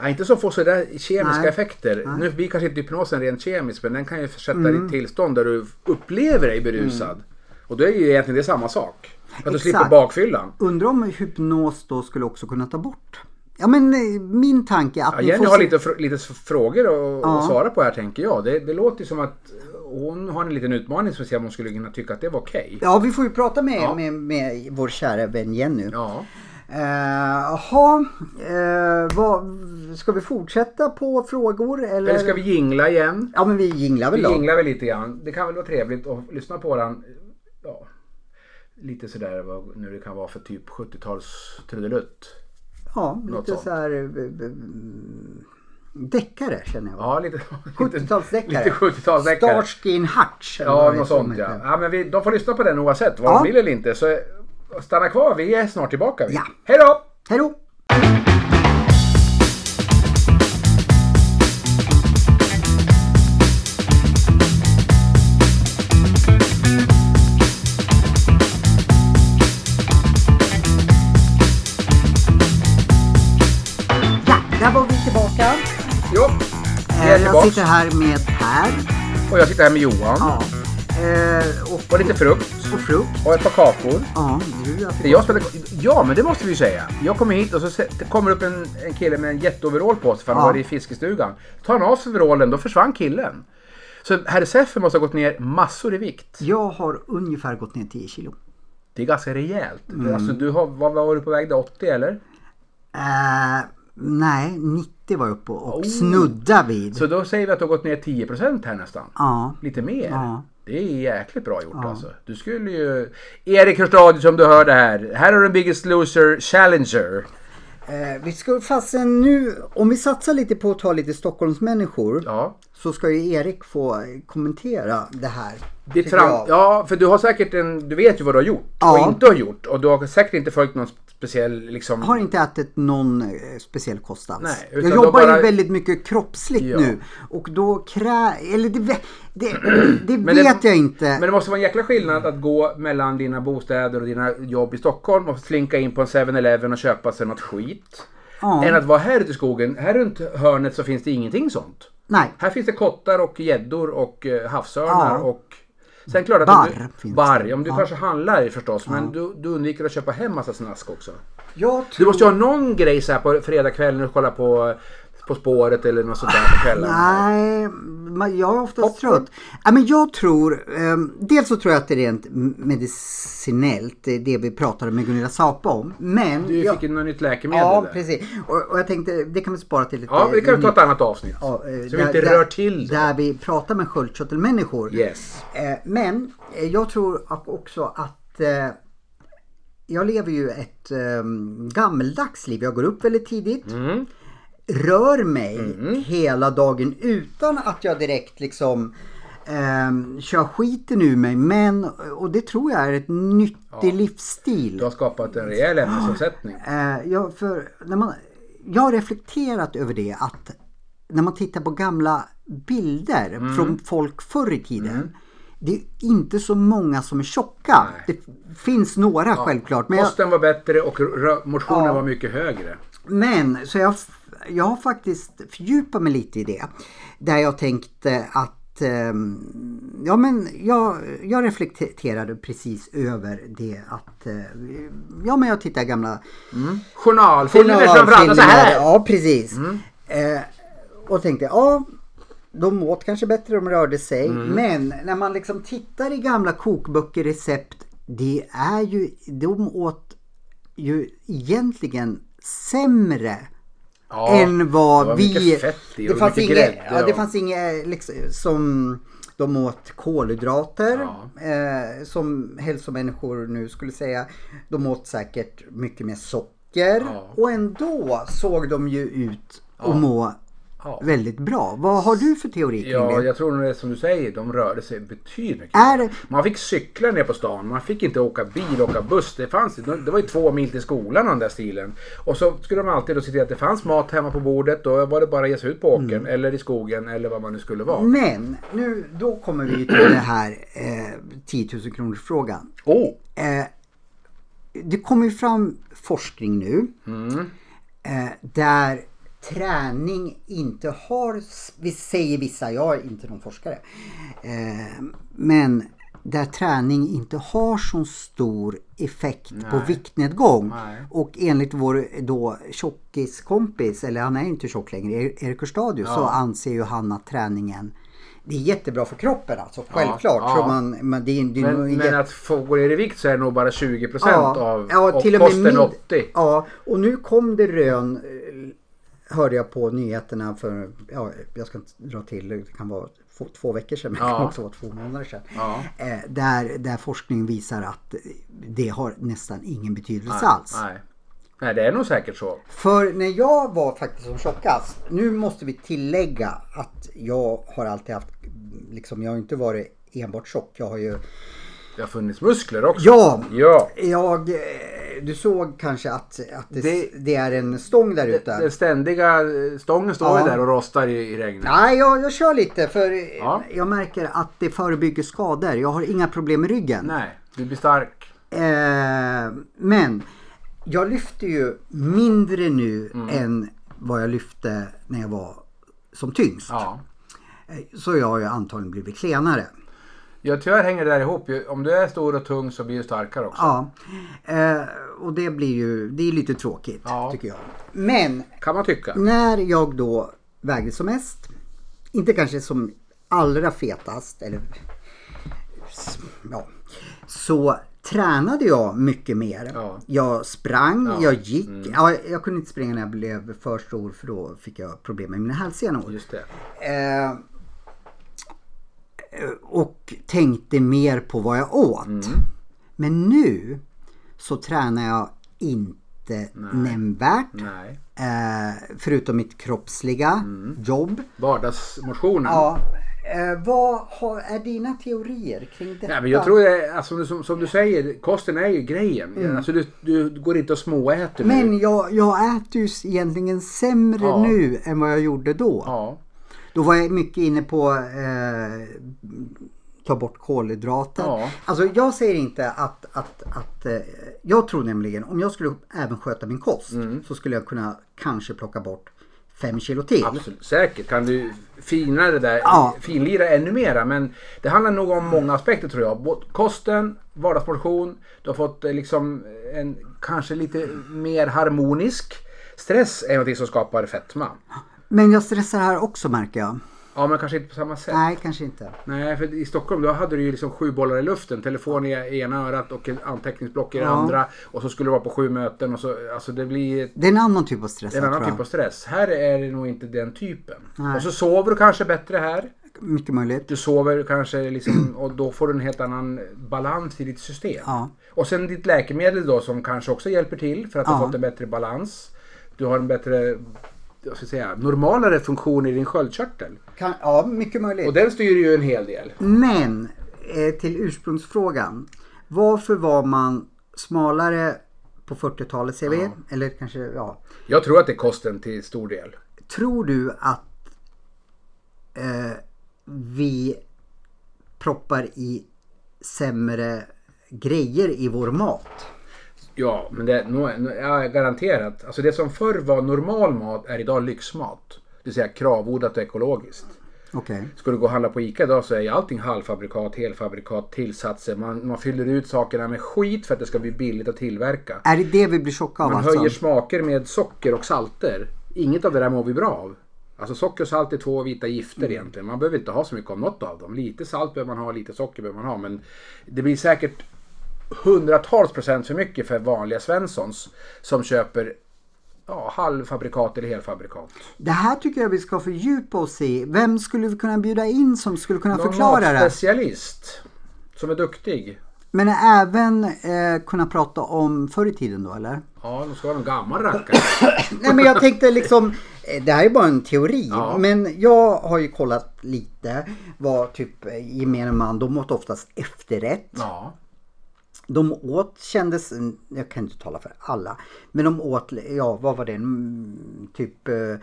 Speaker 2: Ja, inte som får sådär kemiska
Speaker 1: Nej. Mm.
Speaker 2: effekter. Nu blir kanske inte hypnosen rent kemisk men den kan ju försätta dig i ett tillstånd där du upplever dig berusad. Och då är ju egentligen det samma sak. Att du
Speaker 1: Exakt.
Speaker 2: slipper bakfyllan.
Speaker 1: Undrar om hypnos då skulle också kunna ta bort? Ja men eh, min tanke är att
Speaker 2: Ja,
Speaker 1: ni
Speaker 2: Jenny
Speaker 1: får
Speaker 2: har
Speaker 1: se-
Speaker 2: lite, fr- lite s- frågor att att svara på här tänker jag. Det, det låter ju som att hon har en liten utmaning som att se om hon skulle kunna tycka att det var okej.
Speaker 1: Ja vi får ju prata med,
Speaker 2: Ja.
Speaker 1: med, med vår kära vän Jenny.
Speaker 2: Ja.
Speaker 1: Eh, Jaha, eh, vad, ska vi fortsätta på frågor eller?
Speaker 2: Eller ska vi jingla igen?
Speaker 1: Ja men vi jinglar väl
Speaker 2: Vi
Speaker 1: då.
Speaker 2: jinglar väl lite grann. Det kan väl vara trevligt att lyssna på den. Ja, lite sådär vad nu det kan vara för typ 70-tals trudelutt.
Speaker 1: Ja,
Speaker 2: Något
Speaker 1: lite
Speaker 2: sånt.
Speaker 1: så här... eh, eh, Deckare känner jag.
Speaker 2: Ja, lite...
Speaker 1: 70-talsdeckare.
Speaker 2: Lite 70-talsdeckare.
Speaker 1: Starsky and Hutch. eller
Speaker 2: Ja,
Speaker 1: vad det
Speaker 2: något
Speaker 1: som
Speaker 2: sånt ja.
Speaker 1: heter.
Speaker 2: ja men vi, de får lyssna på den oavsett vad
Speaker 1: Ja.
Speaker 2: de vill eller inte. Så stanna kvar, vi är snart tillbaka. vi.
Speaker 1: Ja.
Speaker 2: Hej då!
Speaker 1: Hej då! Ja, där var vi tillbaka.
Speaker 2: Jo, vi är
Speaker 1: Eh, Jag
Speaker 2: tillbaks.
Speaker 1: sitter här med Per.
Speaker 2: Och jag sitter här med Johan.
Speaker 1: Ja. Eh, Och,
Speaker 2: Och lite frukt.
Speaker 1: och frukt.
Speaker 2: Och ett par kakor.
Speaker 1: Ja, du
Speaker 2: Det är jag som spelar... Ja, men det måste vi ju säga. Jag kommer hit och så se- det kommer upp en, en kille med en jätteoverall på sig för han
Speaker 1: Ja.
Speaker 2: var i fiskestugan. Tar han av sig overallen, då försvann killen. Så herr Seffer måste ha gått ner massor i vikt.
Speaker 1: Jag har ungefär gått ner 10 kilo.
Speaker 2: 90 ganska rejält.
Speaker 1: Mm.
Speaker 2: Alltså, du har, vad vad var du på väg där? 80 eller?
Speaker 1: Eh, nej, 90 var uppe och oh. snudda vid.
Speaker 2: Så då säger vi att du har gått ner 10% här nästan.
Speaker 1: Ja.
Speaker 2: Lite mer.
Speaker 1: Ja.
Speaker 2: Det är jäkligt bra gjort alltså. Du skulle ju... Erik Hurstadius som du hörde här. Här har du en Biggest Loser Challenger.
Speaker 1: Eh, vi ska fasen nu, om vi satsar lite på att ta lite Stockholmsmänniskor.
Speaker 2: Ja.
Speaker 1: Så ska ju Erik få kommentera det här.
Speaker 2: Ditt
Speaker 1: tycker
Speaker 2: fram-
Speaker 1: jag.
Speaker 2: ja, för du har säkert en... Du vet ju vad du har gjort
Speaker 1: Ja.
Speaker 2: och inte har gjort. Och du har säkert inte följt någon speciell liksom...
Speaker 1: har inte ätit någon eh, speciell kost alls.
Speaker 2: Nej, utan
Speaker 1: jag
Speaker 2: då
Speaker 1: jobbar
Speaker 2: bara-
Speaker 1: ju väldigt mycket kroppsligt
Speaker 2: Ja.
Speaker 1: nu. Och då krä... Eller det, vä- det, det
Speaker 2: Men
Speaker 1: vet jag inte.
Speaker 2: Men det måste vara en jäkla skillnad att gå mellan dina bostäder och dina jobb i Stockholm och slinka in på en 7-Eleven och köpa sig något skit.
Speaker 1: Ja.
Speaker 2: Än att vara här ute i skogen. Här runt hörnet så finns det ingenting sånt.
Speaker 1: Nej.
Speaker 2: Här finns det kottar och gäddor och eh, havsörnar
Speaker 1: Ja.
Speaker 2: och... Sen klart att
Speaker 1: Barr
Speaker 2: om du,
Speaker 1: finns
Speaker 2: barr, ja, men du kanske handlar i förstås men du, du undviker att köpa hem massa snask också.
Speaker 1: Jag
Speaker 2: Du måste ju ha någon grej så här på fredagskvällen och kolla på På spåret eller något sånt där på kvällen.
Speaker 1: Ah, Nej, men jag är oftast
Speaker 2: Hopp-
Speaker 1: trött. Ja, men jag tror, ehm, dels så tror jag att det är rent medicinellt, det, är det vi pratade med Gunilla Sapa om. Men...
Speaker 2: Du
Speaker 1: jag,
Speaker 2: fick ju något nytt läkemedel
Speaker 1: ja,
Speaker 2: där.
Speaker 1: precis. Och, och jag tänkte, det kan vi spara till lite.
Speaker 2: Ja, vi kan ju ta ett annat avsnitt.
Speaker 1: Ja, eh,
Speaker 2: så vi inte rör till det.
Speaker 1: Där vi pratar med sköldkörtelmänniskor.
Speaker 2: Yes.
Speaker 1: Eh, Men eh, jag tror att- också att eh, jag lever ju ett eh, gammeldags liv. Jag går upp väldigt tidigt.
Speaker 2: Mm.
Speaker 1: Rör mig hela dagen utan att jag direkt liksom eh, kör skiten ur mig. Men, och det tror jag är ett nyttig livsstil.
Speaker 2: Du har skapat en rejäl
Speaker 1: Ah.
Speaker 2: ämnesomsättning.
Speaker 1: Eh, ja, för när man, jag har reflekterat över det att när man tittar på gamla bilder från folk förr i tiden. Det är inte så många som är tjocka. Det finns några självklart. Men, jag,
Speaker 2: Kosten var bättre och rö- motionen
Speaker 1: Ja.
Speaker 2: var mycket högre.
Speaker 1: men så jag, jag har faktiskt fördjupat mig lite i det. Där jag tänkte att ehm, Ja men jag, jag reflekterade precis över det att eh, Ja men jag tittar gamla
Speaker 2: Journalfilmer
Speaker 1: Filmer
Speaker 2: framför allt. Så här! Mm.
Speaker 1: Ja, precis. Eh, och tänkte, ja, de åt kanske bättre, de rörde sig.
Speaker 2: Mm.
Speaker 1: Men när man liksom tittar i gamla kokböcker, recept, det är ju, de åt ju egentligen sämre
Speaker 2: Ja,
Speaker 1: än
Speaker 2: det var
Speaker 1: vad vi...
Speaker 2: mycket fett i och
Speaker 1: det fanns
Speaker 2: mycket
Speaker 1: inget,
Speaker 2: grädde
Speaker 1: ja, det
Speaker 2: och-
Speaker 1: fanns inget liksom, som de åt kolhydrater eh, som hälsomänniskor nu skulle säga. De åt säkert mycket mer socker
Speaker 2: Ja.
Speaker 1: och ändå såg de ju ut och må
Speaker 2: Ja.
Speaker 1: väldigt bra. Vad har du för teori kring
Speaker 2: Ja,
Speaker 1: det?
Speaker 2: jag tror nog det är som du säger, de rörde sig betydligt mycket.
Speaker 1: Är det-
Speaker 2: Man fick cykla ner på stan, man fick inte åka bil, åka buss. Det, fanns, inte- det var ju två mil till skolan den där stilen. Och så skulle de alltid då se till att det fanns mat hemma på bordet. Då var det bara att ge sig ut på
Speaker 1: Mm.
Speaker 2: åkern eller i skogen eller vad man nu skulle vara.
Speaker 1: Men nu, då kommer vi till det här eh, 10 000 kronors frågan.
Speaker 2: Oh.
Speaker 1: Eh, det kommer ju fram forskning nu
Speaker 2: Mm.
Speaker 1: eh, där träning inte har, vi säger vissa, jag är inte någon forskare, eh, men där träning inte har så stor effekt på viktnedgång.
Speaker 2: Nej.
Speaker 1: Och enligt vår då tjockiskompis, eller han är inte tjock längre, Er- Erik Hurstadius, så anser ju han att träningen det är jättebra för kroppen alltså, självklart.
Speaker 2: ja.
Speaker 1: För man, man, det är, det är nog
Speaker 2: Men,
Speaker 1: en
Speaker 2: men
Speaker 1: Mm, jätte-
Speaker 2: att få gå ner i vikt så är det nog bara 20 procent av och
Speaker 1: till och med
Speaker 2: kosten
Speaker 1: min-
Speaker 2: 80.
Speaker 1: Ja, och nu kom det rön eh, hörde jag på nyheterna för, ja, jag ska inte dra till, det kan vara två, två veckor sedan, men det kan
Speaker 2: Ja.
Speaker 1: också vara två månader sedan.
Speaker 2: Ja.
Speaker 1: Eh, där, där forskning visar att det har nästan ingen betydelse alls.
Speaker 2: Nej. Nej, det är nog säkert så.
Speaker 1: För när jag var faktiskt som tjockast, nu måste vi tillägga att jag har alltid haft, liksom jag har inte varit enbart tjock, jag har ju
Speaker 2: Det har funnits muskler också.
Speaker 1: Ja,
Speaker 2: Ja.
Speaker 1: Jag, eh, du såg kanske att, att det, det,
Speaker 2: Det-
Speaker 1: är en stång där ute.
Speaker 2: Den ständiga eh, stången står
Speaker 1: Ja.
Speaker 2: ju där och rostar i, i regnet.
Speaker 1: Nej, jag, jag kör lite för eh,
Speaker 2: Ja.
Speaker 1: jag märker att det förebygger skador. Jag har inga problem med ryggen.
Speaker 2: Nej, du blir stark.
Speaker 1: Eh, men jag lyfter ju mindre nu
Speaker 2: Mm.
Speaker 1: än vad jag lyfte när jag var som tyngst.
Speaker 2: Ja.
Speaker 1: Så jag har ju antagligen blivit klenare.
Speaker 2: ja, tyvärr hänger det där ihop. ju. Om du är stor och tung så blir du starkare också.
Speaker 1: Ja. Eh, och det blir ju, det är lite tråkigt
Speaker 2: Ja.
Speaker 1: tycker jag. Men
Speaker 2: Kan man tycka.
Speaker 1: När jag då vägde som mest, inte kanske som allra fetast, eller ja, så tränade jag mycket mer.
Speaker 2: Ja.
Speaker 1: Jag sprang,
Speaker 2: Ja, Mm.
Speaker 1: jag gick. Ja, jag kunde inte springa när jag blev för stor för då fick jag problem med mina hälsenor.
Speaker 2: Just det.
Speaker 1: Eh, och tänkte mer på vad jag åt.
Speaker 2: Mm.
Speaker 1: Men nu så tränar jag inte nämnvärt.
Speaker 2: Nej.
Speaker 1: Eh, förutom mitt kroppsliga
Speaker 2: Mm.
Speaker 1: jobb.
Speaker 2: Vardagsmotionen.
Speaker 1: Ja, eh, vad har, är dina teorier kring detta?
Speaker 2: Nej, men jag tror det, är- alltså, som, du- som du säger, kosten är ju grejen. Alltså, du, du går inte och småäter nu.
Speaker 1: Mm. Men jag, jag äter ju egentligen sämre
Speaker 2: Ja.
Speaker 1: nu än vad jag gjorde då.
Speaker 2: Ja.
Speaker 1: Då var jag mycket inne på eh, ta bort kolhydrater.
Speaker 2: Ja.
Speaker 1: Alltså jag säger inte att, att, att eh, jag tror nämligen om jag skulle även sköta min kost
Speaker 2: Mm.
Speaker 1: så skulle jag kunna kanske plocka bort 5 kilo till.
Speaker 2: Absolut, säkert kan du fina det där,
Speaker 1: Ja.
Speaker 2: finlira ännu mera. Men det handlar nog om många aspekter tror jag. Både kosten, vardagsportion, du har fått eh, liksom en kanske lite mer harmonisk. Stress är någonting som skapar fetma.
Speaker 1: Men jag stressar här också märker jag.
Speaker 2: Ja, men kanske inte på samma sätt.
Speaker 1: Nej, kanske inte.
Speaker 2: Nej, för i Stockholm då hade du ju liksom sju bollar i luften. Telefon i i ena örat och ett anteckningsblock i det
Speaker 1: Ja.
Speaker 2: andra. Och så skulle du vara på sju möten och så, alltså det blir ett
Speaker 1: Det är en annan typ av stress.
Speaker 2: det är en
Speaker 1: här,
Speaker 2: annan
Speaker 1: tror jag.
Speaker 2: typ av stress. Här är det nog inte den typen.
Speaker 1: Nej.
Speaker 2: Och så sover du kanske bättre här.
Speaker 1: Mycket möjligt.
Speaker 2: Du sover kanske liksom, och då får du en helt annan balans i ditt system.
Speaker 1: Ja.
Speaker 2: Och sen ditt läkemedel då som kanske också hjälper till för att du
Speaker 1: Ja.
Speaker 2: har fått en bättre balans. Du har en bättre, jag ska säga, normalare funktion i din sköldkörtel.
Speaker 1: Kan, ja, mycket möjligt.
Speaker 2: Och den styr ju en hel del.
Speaker 1: Men eh, till ursprungsfrågan. Varför var man smalare på 40-talet ser vi? Eller kanske, ja.
Speaker 2: Jag tror att det är kosten till stor del.
Speaker 1: Tror du att eh, vi proppar i sämre grejer i vår mat?
Speaker 2: Ja, men det, nå- nå- ja, garanterat. Alltså det som förr var normal mat är idag lyxmat. Det vill säga kravodlat och ekologiskt.
Speaker 1: Okej.
Speaker 2: Ska du gå och handla på ICA idag så är ju allting halvfabrikat, helfabrikat, tillsatser. Man, man fyller ut sakerna med skit för att det ska bli billigt att tillverka.
Speaker 1: Är det det vi blir tjocka av
Speaker 2: Man
Speaker 1: alltså?
Speaker 2: höjer smaker med socker och salter. Inget av det där mår vi bra av. Alltså socker och salt är två vita gifter
Speaker 1: Mm.
Speaker 2: egentligen. Man behöver inte ha så mycket av något av dem. Lite salt behöver man ha, lite socker behöver man ha. Men det blir säkert hundratals procent för mycket för vanliga Svenssons som köper ja, halvfabrikat eller helfabrikat.
Speaker 1: Det här tycker jag vi ska fördjupa oss i. Vem skulle vi kunna bjuda in som skulle kunna
Speaker 2: Någon
Speaker 1: förklara det?
Speaker 2: specialist som är duktig.
Speaker 1: Men även eh, kunna prata om förr i tiden då eller?
Speaker 2: Ja, de ska vara en gammal rackare.
Speaker 1: Nej men jag tänkte liksom, eh, det här är bara en teori.
Speaker 2: Ja.
Speaker 1: Men jag har ju kollat lite vad typ eh, gemene man, de åt oftast efterrätt.
Speaker 2: Ja.
Speaker 1: De åt kändes, mm, jag kan inte tala för alla, men de åt, ja vad var det, Mm, typ eh,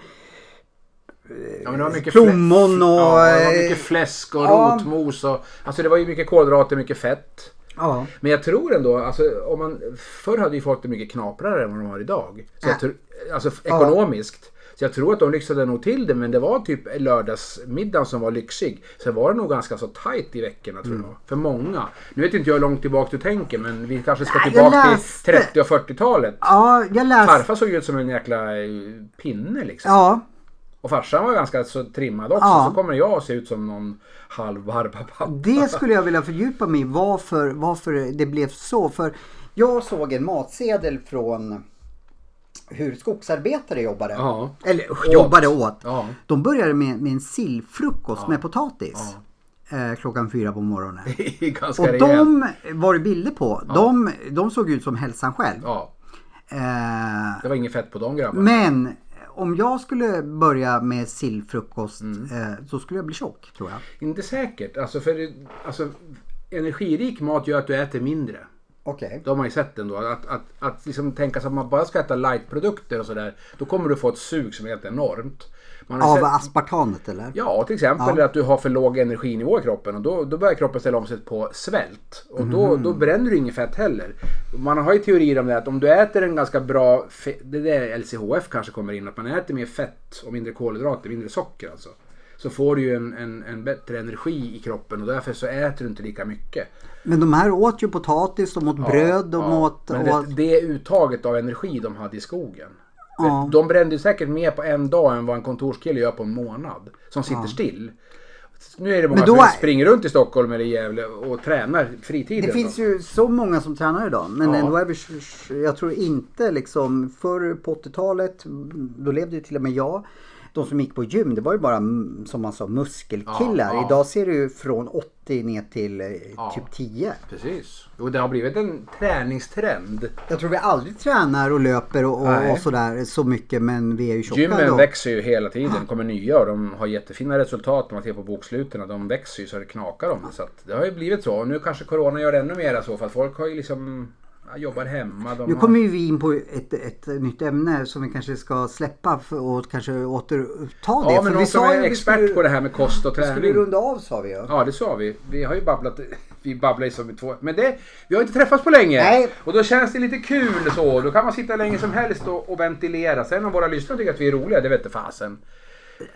Speaker 2: Ja, men det var mycket
Speaker 1: Plommon
Speaker 2: fläsk.
Speaker 1: och,
Speaker 2: Ja, det var
Speaker 1: eh,
Speaker 2: mycket fläsk och
Speaker 1: ja.
Speaker 2: rotmos. Och, alltså det var ju mycket kolhydrater, mycket fett.
Speaker 1: ja.
Speaker 2: Men jag tror ändå, alltså, om man, förr hade ju folk det mycket knaprare än vad de har idag. Så jag
Speaker 1: Ja.
Speaker 2: tror, alltså f- ekonomiskt. Så jag tror att de lyxade nog till det men det var typ lördagsmiddagen som var lyxig. Sen var det nog ganska så tight i veckorna tror
Speaker 1: Mm.
Speaker 2: jag. För många. Nu vet inte jag hur långt tillbaka du tänker men vi kanske ska
Speaker 1: Nej, jag
Speaker 2: tillbaka
Speaker 1: läste- Alltså-
Speaker 2: till 30 och 40-talet.
Speaker 1: Ja, jag läste.
Speaker 2: Farfar såg ut som en jäkla eh, pinne liksom.
Speaker 1: Ja,
Speaker 2: Och farsan var ganska så trimmad också.
Speaker 1: Ja.
Speaker 2: Så kommer jag att se ut som någon halv barbapappa.
Speaker 1: det skulle jag vilja fördjupa mig i. Varför, varför det blev så. För jag såg en matsedel från hur skogsarbetare jobbade.
Speaker 2: Ja.
Speaker 1: Eller jobbade åt.
Speaker 2: Ja.
Speaker 1: De började med, med en sillfrukost med potatis. Eh, klockan fyra på morgonen.
Speaker 2: Det är ganska
Speaker 1: Och
Speaker 2: rejält.
Speaker 1: de var det bilder på. De, de såg ut som hälsan själv.
Speaker 2: Ja,
Speaker 1: Eh,
Speaker 2: det var inget fett på de grabbarna.
Speaker 1: men om jag skulle börja med sillfrukost
Speaker 2: Mm.
Speaker 1: eh, så skulle jag bli tjock tror jag.
Speaker 2: Inte säkert. Alltså, för, alltså, energirik mat gör att du äter mindre.
Speaker 1: Okej.
Speaker 2: Det har man ju sett ändå. Att, att, att liksom tänka sig att man bara ska äta lightprodukter och sådär. Då kommer du få ett sug som är helt enormt. Man har
Speaker 1: Av
Speaker 2: sett-
Speaker 1: aspartamet eller?
Speaker 2: Ja, till exempel att du har för låg energinivå i kroppen och då, då börjar kroppen ställa om sig på svält. Och då, då bränner du inget fett heller. Man har ju teorier om det att om du äter en ganska bra, fe- det är där LCHF kanske kommer in, att man äter mer fett och mindre kolhydrater, mindre socker alltså. Så får du ju en, en, en bättre energi i kroppen och därför så äter du inte lika mycket.
Speaker 1: Men de här åt ju potatis, de åt bröd, de
Speaker 2: Ja,
Speaker 1: åt...
Speaker 2: Men det,
Speaker 1: åt...
Speaker 2: det uttaget av energi de hade i skogen.
Speaker 1: Ja.
Speaker 2: De brände ju säkert mer på en dag än vad en kontorskille gör på en månad. Som sitter still. Nu är det många
Speaker 1: Men då
Speaker 2: som
Speaker 1: är-
Speaker 2: springer runt i Stockholm eller i Gävle och tränar fritiden.
Speaker 1: Det finns ju så många som tränar idag. Men
Speaker 2: Ja.
Speaker 1: ändå är vi, jag tror inte liksom, förr på 80-talet, då levde ju till och med jag. De som gick på gym, det var ju bara mm, som man sa muskelkillar.
Speaker 2: Ja, ja.
Speaker 1: Idag ser det ju från 80 ner till eh, typ 10.
Speaker 2: Precis. Och det har blivit en träningstrend.
Speaker 1: Jag tror vi aldrig tränar och löper och, och,
Speaker 2: Nej.
Speaker 1: och sådär så mycket men vi är ju tjocka
Speaker 2: Gymmen
Speaker 1: då.
Speaker 2: växer ju hela tiden, kommer nya och de har jättefina resultat när man tittar på boksluten. De växer ju så det knakar om det. Så att det har ju blivit så. Och nu kanske Corona gör det ännu mer så för att folk har ju liksom ja, jobbar hemma. De
Speaker 1: Nu
Speaker 2: har...
Speaker 1: kommer ju vi in på ett, ett nytt ämne som vi kanske ska släppa för, och kanske återuppta det.
Speaker 2: Ja, men
Speaker 1: vi
Speaker 2: någon som
Speaker 1: sa
Speaker 2: är
Speaker 1: ju vi
Speaker 2: expert
Speaker 1: skulle-
Speaker 2: på det här med kost och
Speaker 1: Vi skulle
Speaker 2: träning.
Speaker 1: runda av sa vi ju.
Speaker 2: Ja, det sa vi. Vi har ju babblat. Vi babblar ju som i två... Men det, vi har inte träffats på länge.
Speaker 1: Nej.
Speaker 2: Och då känns det lite kul så. Då kan man sitta hur länge som helst och, och ventilera. Sen om våra lyssnare tycker att vi är roliga, det vet inte fasen.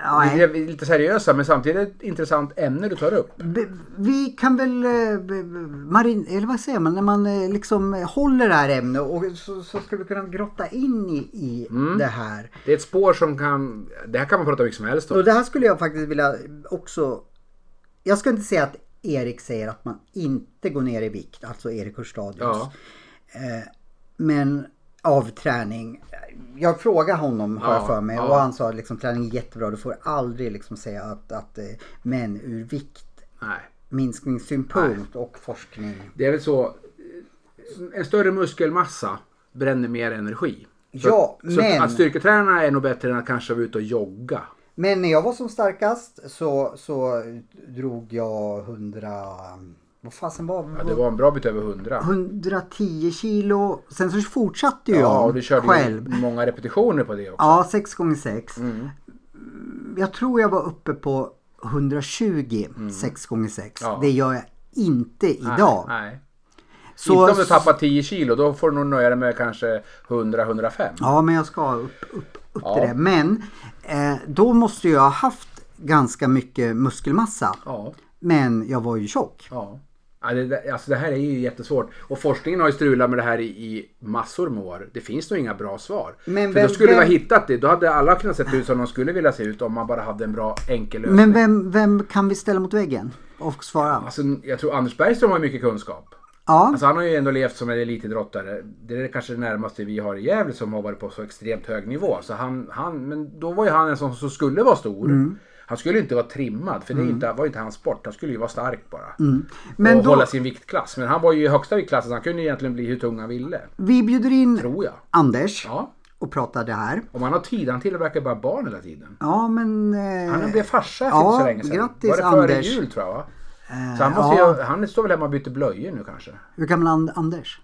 Speaker 1: Ja,
Speaker 2: Vi är vi är lite seriösa, men samtidigt ett intressant ämne du tar upp.
Speaker 1: B- Vi kan väl eh, b- b- marin, eller vad säger man, när man eh, liksom eh, håller det här ämnet och så, så ska vi kunna grotta in i, i
Speaker 2: Mm.
Speaker 1: det här.
Speaker 2: Det är ett spår som kan... Det här kan man prata mycket som helst
Speaker 1: Och
Speaker 2: om.
Speaker 1: det här skulle jag faktiskt vilja också... Jag ska inte säga att Erik säger att man inte går ner i vikt, alltså Erik Hurstadius.
Speaker 2: Ja.
Speaker 1: Men av träning. Jag frågade honom har jag
Speaker 2: Ja,
Speaker 1: för mig
Speaker 2: ja.
Speaker 1: och han sa liksom träning är jättebra. Du får aldrig liksom säga att, att eh, men ur
Speaker 2: Nej.
Speaker 1: viktminskningssynpunkt och forskning.
Speaker 2: Det är väl så. eh, En större muskelmassa bränner mer energi. Så-
Speaker 1: Ja, men-
Speaker 2: Så att styrketräna är nog bättre än att kanske vara ute och jogga.
Speaker 1: Men när jag var som starkast så, så drog jag 100... Vad fasen var
Speaker 2: Ja, det var en bra bit över 100.
Speaker 1: 110 kilo. Sen så fortsatte ju
Speaker 2: Ja, och
Speaker 1: jag
Speaker 2: du körde
Speaker 1: själv.
Speaker 2: ju många repetitioner på det också.
Speaker 1: Ja, 6 gånger 6
Speaker 2: Mm.
Speaker 1: Jag tror jag var uppe på 120 6 gånger 6
Speaker 2: Mm. Ja.
Speaker 1: Det gör jag inte idag.
Speaker 2: Nej, nej.
Speaker 1: Så,
Speaker 2: Inte om du tappar 10 kilo, då får du nog nöja dig med kanske 100-105.
Speaker 1: Ja, men jag ska upp, upp, upp
Speaker 2: Ja.
Speaker 1: till det. Men eh, då måste jag ha haft ganska mycket muskelmassa.
Speaker 2: Ja.
Speaker 1: Men jag var ju tjock.
Speaker 2: ja. Ja, det- det, alltså det här är ju jättesvårt. Och forskningen har ju strulat med det här i, i massor med år. Det finns nog inga bra svar.
Speaker 1: Men
Speaker 2: För
Speaker 1: vem-
Speaker 2: då skulle vi
Speaker 1: vem-
Speaker 2: ha hittat det. Då hade alla kunnat se ut som de skulle vilja se ut om man bara hade en bra enkel lösning.
Speaker 1: Men vem, vem kan vi ställa mot väggen? Och svara.
Speaker 2: Alltså, jag tror Anders Bergström har mycket kunskap.
Speaker 1: Ja,
Speaker 2: Alltså han har ju ändå levt som en elitidrottare. Det är kanske det närmaste vi har i Gävle som har varit på så extremt hög nivå. Så han, han, men då var ju han en sån som skulle vara stor.
Speaker 1: Mm.
Speaker 2: Han skulle ju inte vara trimmad, för det är inte, var ju inte hans sport. Han skulle ju vara stark bara.
Speaker 1: Mm. Men
Speaker 2: och
Speaker 1: då-
Speaker 2: hålla sin viktklass. Men han var ju i högsta viktklassen, så han kunde ju egentligen bli hur tung han ville.
Speaker 1: vi bjuder in
Speaker 2: Tror jag.
Speaker 1: Anders
Speaker 2: Ja.
Speaker 1: och pratar det här.
Speaker 2: Om han har tid, han tillverkar bara barn hela tiden.
Speaker 1: Ja, men... eh,
Speaker 2: Han blev farsa för
Speaker 1: ja,
Speaker 2: inte så länge sedan.
Speaker 1: grattis,
Speaker 2: var det före
Speaker 1: Anders.
Speaker 2: jul tror jag va? Så han,
Speaker 1: Eh,
Speaker 2: måste
Speaker 1: ja.
Speaker 2: ju, han står väl hemma och byter blöjor nu kanske.
Speaker 1: Hur gammal är And- Anders?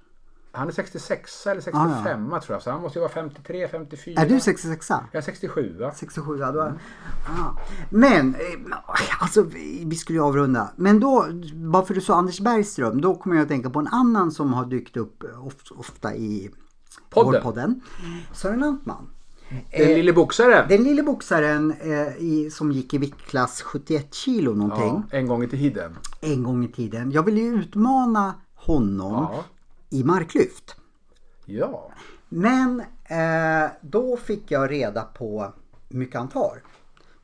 Speaker 2: Han är 66 eller 65 tror jag, så han måste ju vara 53, 54.
Speaker 1: Ah, Är du 66
Speaker 2: Jag är 67. va?
Speaker 1: 67 ja, då är... ja. Men, eh, alltså vi vi skulle ju avrunda. Men då, bara för du sa Anders Bergström, då kommer jag att tänka på en annan som har dykt upp of- ofta i
Speaker 2: Podden.
Speaker 1: vår podden. Sören Antman.
Speaker 2: Den lille boxaren.
Speaker 1: Den lille boxaren eh, i, som gick i viktklass 71 kilo någonting.
Speaker 2: Ja, en gång i tiden.
Speaker 1: en gång i tiden. Jag ville ju utmana honom
Speaker 2: Ja.
Speaker 1: i marklyft.
Speaker 2: Ja.
Speaker 1: Men eh, då fick jag reda på hur mycket han tar.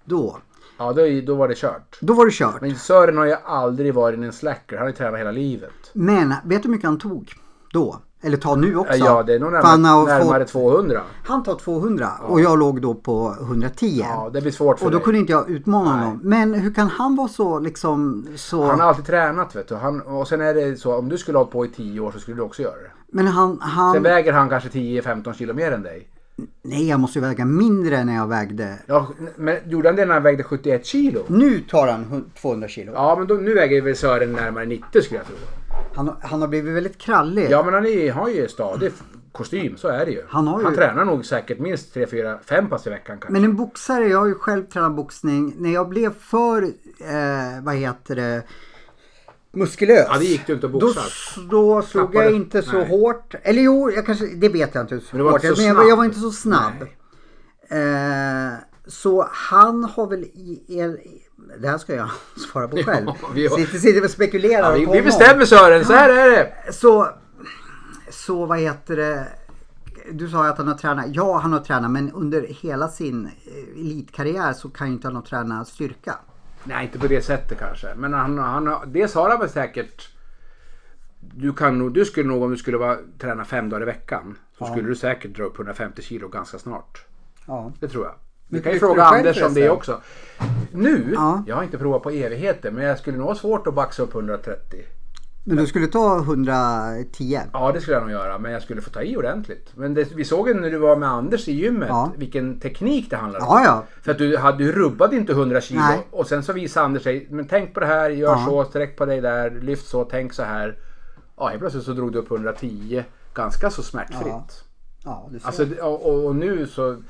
Speaker 1: Då,
Speaker 2: Ja, då, då var det kört.
Speaker 1: då var det kört. Men,
Speaker 2: Men Sören har ju aldrig varit en slacker. Han har ju tränat hela livet. Äh,
Speaker 1: vet du hur mycket han tog då? Eller tar nu också?
Speaker 2: Ja, det är nog
Speaker 1: För han har
Speaker 2: närmare, närmare
Speaker 1: fått,
Speaker 2: 200.
Speaker 1: han tar 200 och jag låg då på 110.
Speaker 2: Ja, det blir svårt för
Speaker 1: och då
Speaker 2: dig.
Speaker 1: kunde inte jag utmana honom. Men hur kan han vara så liksom så...
Speaker 2: Han har alltid tränat vet du. Han, och sen är det så om du skulle ha hållit på i 10 år så skulle du också göra det.
Speaker 1: men han... han...
Speaker 2: Sen väger han kanske 10-15 kilo mer än dig.
Speaker 1: Nej, jag måste ju väga mindre än när jag vägde.
Speaker 2: Ja, men gjorde han det när han vägde 71 kilo?
Speaker 1: Nu tar han hun- 200 kilo.
Speaker 2: Ja, men då, nu väger väl Sören närmare 90 skulle jag tro.
Speaker 1: Han, har- han har blivit väldigt krallig.
Speaker 2: Ja men han är, har ju stadig kostym, så är det ju.
Speaker 1: Han har ju-
Speaker 2: tränar nog säkert minst 3, 4, 5 pass i veckan kanske.
Speaker 1: Men en boxare, jag har ju själv tränat boxning. När jag blev för, eh, vad heter det, muskulös.
Speaker 2: Ja, det gick du inte att
Speaker 1: Då,
Speaker 2: boxa.
Speaker 1: då slog
Speaker 2: Tappade-
Speaker 1: jag inte så
Speaker 2: nej.
Speaker 1: hårt. Eller jo, jag kanske, det vet jag inte. hur
Speaker 2: Men du var
Speaker 1: hårt
Speaker 2: inte så
Speaker 1: jag- men jag, jag var
Speaker 2: snabb.
Speaker 1: inte så snabb. Eh, så han har väl... i- i- Det här ska jag svara på själv.
Speaker 2: vi har-
Speaker 1: sitter, sitter och spekulerar
Speaker 2: vi,
Speaker 1: på
Speaker 2: vi
Speaker 1: honom.
Speaker 2: bestämmer Sören, så här är det!
Speaker 1: Så, så vad heter det? Du sa att han har tränat. Ja, han har tränat men under hela sin eh, elitkarriär så kan ju inte han ha tränat styrka.
Speaker 2: Nej, inte på det sättet kanske. Men han, han, har- dels har han väl säkert... Du, kan nog, du skulle nog om du skulle vara, träna fem dagar i veckan så skulle du säkert dra upp 150 kilo ganska snart.
Speaker 1: Ja.
Speaker 2: Det tror jag. Vi
Speaker 1: Mycket
Speaker 2: kan ju
Speaker 1: tyckte
Speaker 2: fråga
Speaker 1: du själv
Speaker 2: Anders om det
Speaker 1: förresten.
Speaker 2: också. Nu,
Speaker 1: Ja.
Speaker 2: jag har inte provat på evigheter, men jag skulle nog ha svårt att baxa upp 130.
Speaker 1: Men du skulle ta 110?
Speaker 2: Ja, det skulle jag nog göra, men jag skulle få ta i ordentligt. Men det, vi såg ju när du var med Anders i gymmet
Speaker 1: Ja.
Speaker 2: vilken teknik det handlade
Speaker 1: Ja, ja.
Speaker 2: För att du, hade, du rubbade inte 100 kilo
Speaker 1: Nej.
Speaker 2: och sen så visade Anders sig, men tänk på det här, gör
Speaker 1: Ja.
Speaker 2: så, sträck på dig där, lyft så, tänk så här. Ja, helt plötsligt så drog du upp 110 ganska så smärtfritt.
Speaker 1: Ja. Ja, du ser.
Speaker 2: Alltså, det- och, och- och nu så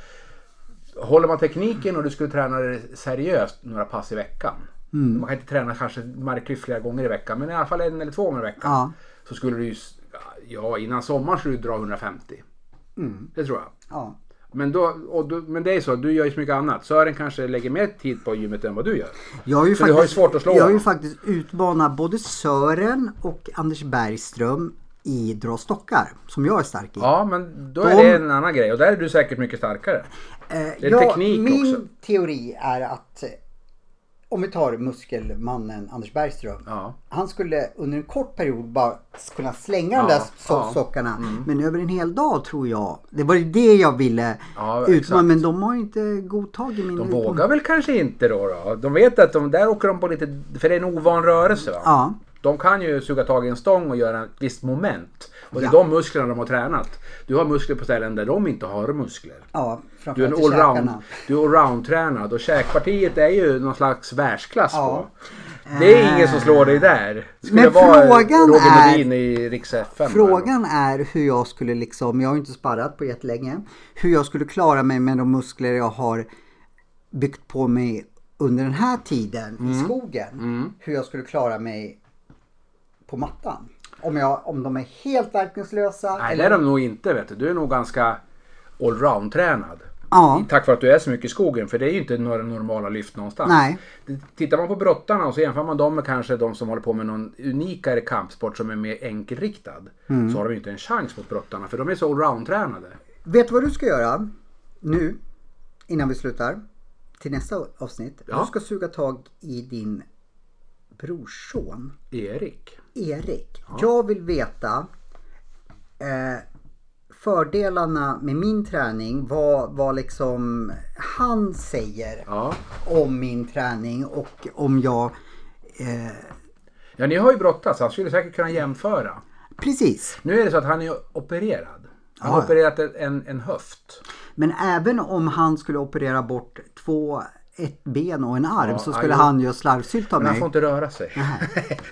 Speaker 2: håller man tekniken och du skulle träna det seriöst några pass i veckan.
Speaker 1: Mm.
Speaker 2: Man kan inte träna kanske marklyft flera gånger i veckan men i alla fall en eller två gånger i veckan.
Speaker 1: Ja.
Speaker 2: Så skulle du ju, s- ja innan sommaren skulle du dra 150.
Speaker 1: Mm.
Speaker 2: Det tror jag.
Speaker 1: ja.
Speaker 2: Men, då, och du, men det är så, du gör ju så mycket annat. Sören kanske lägger mer tid på gymmet än vad du gör.
Speaker 1: Jag har ju,
Speaker 2: Så du har ju
Speaker 1: faktiskt,
Speaker 2: svårt att slå
Speaker 1: jag har ju
Speaker 2: honom.
Speaker 1: faktiskt utmanat både Sören och Anders Bergström i dra stockar, som jag är stark i.
Speaker 2: Ja, men då är
Speaker 1: De-
Speaker 2: det en annan grej och där är du säkert mycket starkare.
Speaker 1: det
Speaker 2: är teknik
Speaker 1: Eh, min
Speaker 2: också.
Speaker 1: teori är att eh, om vi tar muskelmannen Anders Bergström.
Speaker 2: Ja.
Speaker 1: Han skulle under en kort period bara kunna slänga de
Speaker 2: Ja,
Speaker 1: där so-
Speaker 2: ja. Mm.
Speaker 1: sockarna. Men över en hel dag tror jag. Det var ju det jag ville
Speaker 2: Ja,
Speaker 1: utmana.
Speaker 2: exakt.
Speaker 1: Men de har ju inte godtagit min
Speaker 2: De
Speaker 1: utmaning.
Speaker 2: vågar väl kanske inte då. då. De vet att de, där åker de på lite, för det är en ovan rörelse. Va?
Speaker 1: Ja.
Speaker 2: De kan ju suga tag i en stång och göra ett visst moment. Och det är
Speaker 1: Ja.
Speaker 2: de musklerna de har tränat. Du har muskler på ställen där de inte har muskler.
Speaker 1: Ja,
Speaker 2: Du är en
Speaker 1: framförallt i
Speaker 2: allround,
Speaker 1: käkarna.
Speaker 2: du är allround-tränad och käkpartiet är ju någon slags världsklass
Speaker 1: Ja.
Speaker 2: på. Det är ingen som slår dig där. Det skulle
Speaker 1: Men
Speaker 2: vara
Speaker 1: frågan
Speaker 2: Roger
Speaker 1: är-
Speaker 2: Nordin i Rix FM.
Speaker 1: Frågan är hur jag skulle liksom, jag har ju inte sparrat på jättelänge, hur jag skulle klara mig med de muskler jag har byggt på mig under den här tiden i
Speaker 2: Mm.
Speaker 1: skogen. Hur jag skulle klara mig på mattan. Om, jag, om de är helt verkningslösa.
Speaker 2: Nej, det
Speaker 1: eller,
Speaker 2: är de nog inte. Vet du. du är nog ganska allround-tränad.
Speaker 1: Ja.
Speaker 2: Tack vare att du är så mycket i skogen, för det är ju inte några normala lyft någonstans.
Speaker 1: Nej.
Speaker 2: Det- Tittar man på brottarna och så jämför man dem med kanske de som håller på med någon unikare kampsport som är mer enkelriktad.
Speaker 1: Mm.
Speaker 2: Så har de ju inte en chans mot brottarna, för de är så allround-tränade.
Speaker 1: Vet du vad du ska göra nu innan vi slutar? Till nästa avsnitt.
Speaker 2: Ja.
Speaker 1: Du ska suga tag i din brorson.
Speaker 2: Erik.
Speaker 1: Erik, jag vill veta eh, fördelarna med min träning. Vad, vad liksom han säger
Speaker 2: Ja.
Speaker 1: om min träning och om jag... Eh,
Speaker 2: ja, ni har ju brottats. Han skulle säkert kunna jämföra.
Speaker 1: precis.
Speaker 2: Nu är det så att han är opererad. Han
Speaker 1: Ja.
Speaker 2: har opererat en, en höft.
Speaker 1: Men även om han skulle operera bort två, ett ben och en arm
Speaker 2: Ja,
Speaker 1: så skulle
Speaker 2: aj,
Speaker 1: han göra slarvsylt av
Speaker 2: Men han
Speaker 1: mig.
Speaker 2: får inte röra sig.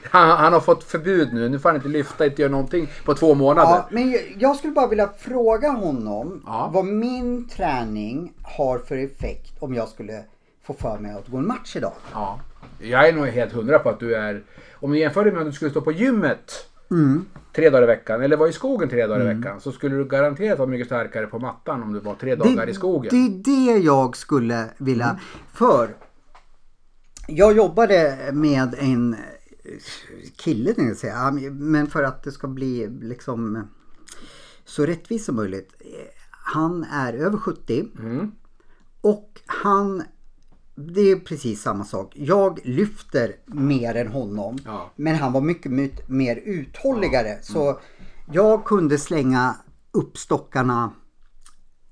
Speaker 2: han, han har fått förbud nu. Nu får han inte lyfta, inte göra någonting på två månader.
Speaker 1: Ja, men jag- jag skulle bara vilja fråga honom
Speaker 2: Ja.
Speaker 1: vad min träning har för effekt om jag skulle få för mig att gå en match idag.
Speaker 2: Ja. Jag är nog helt hundra på att du är... Om du jämför det med om du skulle stå på gymmet
Speaker 1: Mm.
Speaker 2: tre dagar i veckan eller vara i skogen tre dagar i veckan så skulle du garanterat vara mycket starkare på mattan om du var tre dagar i skogen. Mm.
Speaker 1: Det är det jag skulle vilja. För jag jobbade med en eh, kille tänkte jag säga. Han- Men för att det ska bli liksom så rättvist som möjligt. Eh, Han är över 70.
Speaker 2: Mm.
Speaker 1: Och han det är precis samma sak. Jag lyfter mer än honom.
Speaker 2: Ja. Mm.
Speaker 1: Men han var mycket myt, mer uthålligare. Så jag kunde slänga upp stockarna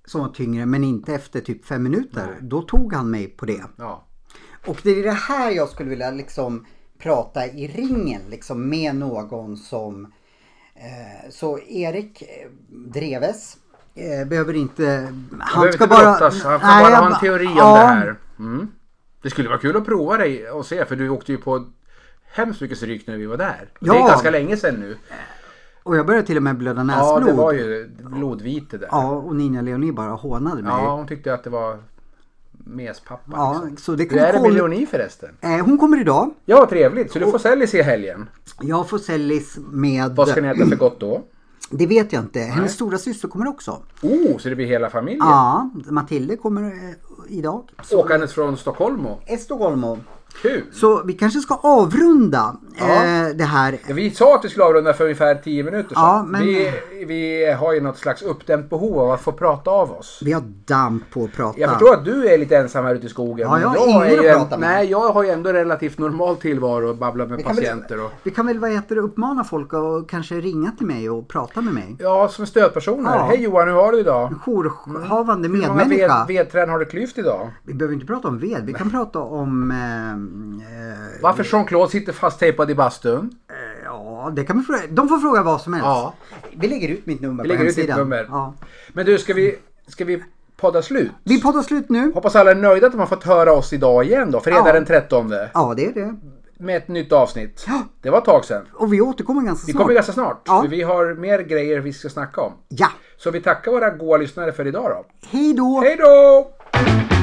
Speaker 1: som var tyngre men inte efter typ fem minuter. Då tog han mig på det.
Speaker 2: Ja.
Speaker 1: Och det är det här jag skulle vilja liksom prata i ringen liksom med någon som... Eh, så Erik eh, Dreves eh, behöver inte... Han
Speaker 2: behöver
Speaker 1: ska
Speaker 2: inte
Speaker 1: bara...
Speaker 2: brottas. Han får
Speaker 1: Nej,
Speaker 2: bara
Speaker 1: jag
Speaker 2: ha en
Speaker 1: ba-
Speaker 2: teori om
Speaker 1: ja,
Speaker 2: det här. Mm. Det skulle vara kul att prova dig och se för du åkte ju på hemskt mycket stryk när vi var där. Och Det
Speaker 1: Ja.
Speaker 2: är ganska länge sedan nu.
Speaker 1: Och jag började till och med blöda
Speaker 2: Ja,
Speaker 1: näsblod.
Speaker 2: det var ju blodvite där.
Speaker 1: Ja, och Nina Leonie bara hånade mig.
Speaker 2: Ja, hon tyckte att det var mespappa.
Speaker 1: Ja,
Speaker 2: liksom.
Speaker 1: så det
Speaker 2: Hur är det
Speaker 1: kom-
Speaker 2: med Leonie förresten?
Speaker 1: Eh, hon kommer idag.
Speaker 2: Ja, trevligt. Så du får Sellis i helgen.
Speaker 1: Jag får Sellis med...
Speaker 2: Vad ska ni äta för gott då?
Speaker 1: Det vet jag inte. Hennes stora syster kommer också.
Speaker 2: Oh, så det blir hela familjen?
Speaker 1: Ja, Matilde kommer eh, idag. Så...
Speaker 2: Åkandes från Stockholm och...
Speaker 1: Estogolmo.
Speaker 2: Kul!
Speaker 1: Så vi kanske ska avrunda eh, det här.
Speaker 2: Ja, vi sa att vi skulle avrunda för ungefär 10 minuter sedan.
Speaker 1: Ja, men-
Speaker 2: vi, vi har ju något slags uppdämt behov av att få prata av oss.
Speaker 1: Vi har damp på att prata.
Speaker 2: Jag förstår att du är lite ensam här ute i skogen.
Speaker 1: Ja, jag har
Speaker 2: men
Speaker 1: ingen
Speaker 2: är ju
Speaker 1: att
Speaker 2: en-
Speaker 1: prata med.
Speaker 2: Nej, jag har ju ändå relativt normal tillvaro och babblar med
Speaker 1: Vi kan väl-
Speaker 2: patienter och...
Speaker 1: Vi kan väl vad heter det, uppmana folk att kanske ringa till mig och prata med mig.
Speaker 2: Ja, som stödpersoner.
Speaker 1: Ja.
Speaker 2: Hej Johan, hur har du idag?
Speaker 1: En jourhavande
Speaker 2: Mm. Hur många
Speaker 1: medmänniska.
Speaker 2: ved- vedträn har du klyvt idag?
Speaker 1: Vi behöver inte prata om ved, vi kan prata om... Eh, eh,
Speaker 2: Varför Jean-Claude sitter fasttejpad i bastun?
Speaker 1: ja, det kan vi fråga. De får fråga vad som helst.
Speaker 2: Ja.
Speaker 1: Vi lägger ut mitt nummer
Speaker 2: Vi
Speaker 1: på
Speaker 2: lägger ut ditt
Speaker 1: hemsidan.
Speaker 2: nummer.
Speaker 1: Ja.
Speaker 2: Men du, ska vi, ska vi podda slut?
Speaker 1: Vi poddar slut nu.
Speaker 2: Hoppas alla är nöjda att de har fått höra oss idag igen då, fredag
Speaker 1: Ja.
Speaker 2: den 13.
Speaker 1: Ja, det är det.
Speaker 2: Med ett nytt avsnitt.
Speaker 1: Ja.
Speaker 2: Det var ett tag sedan.
Speaker 1: Och vi återkommer ganska
Speaker 2: Vi
Speaker 1: snart.
Speaker 2: kommer ganska snart.
Speaker 1: Ja.
Speaker 2: För vi har mer grejer vi ska snacka om.
Speaker 1: Ja,
Speaker 2: Så vi tackar våra goa lyssnare för idag då.
Speaker 1: hej då!
Speaker 2: Hej då!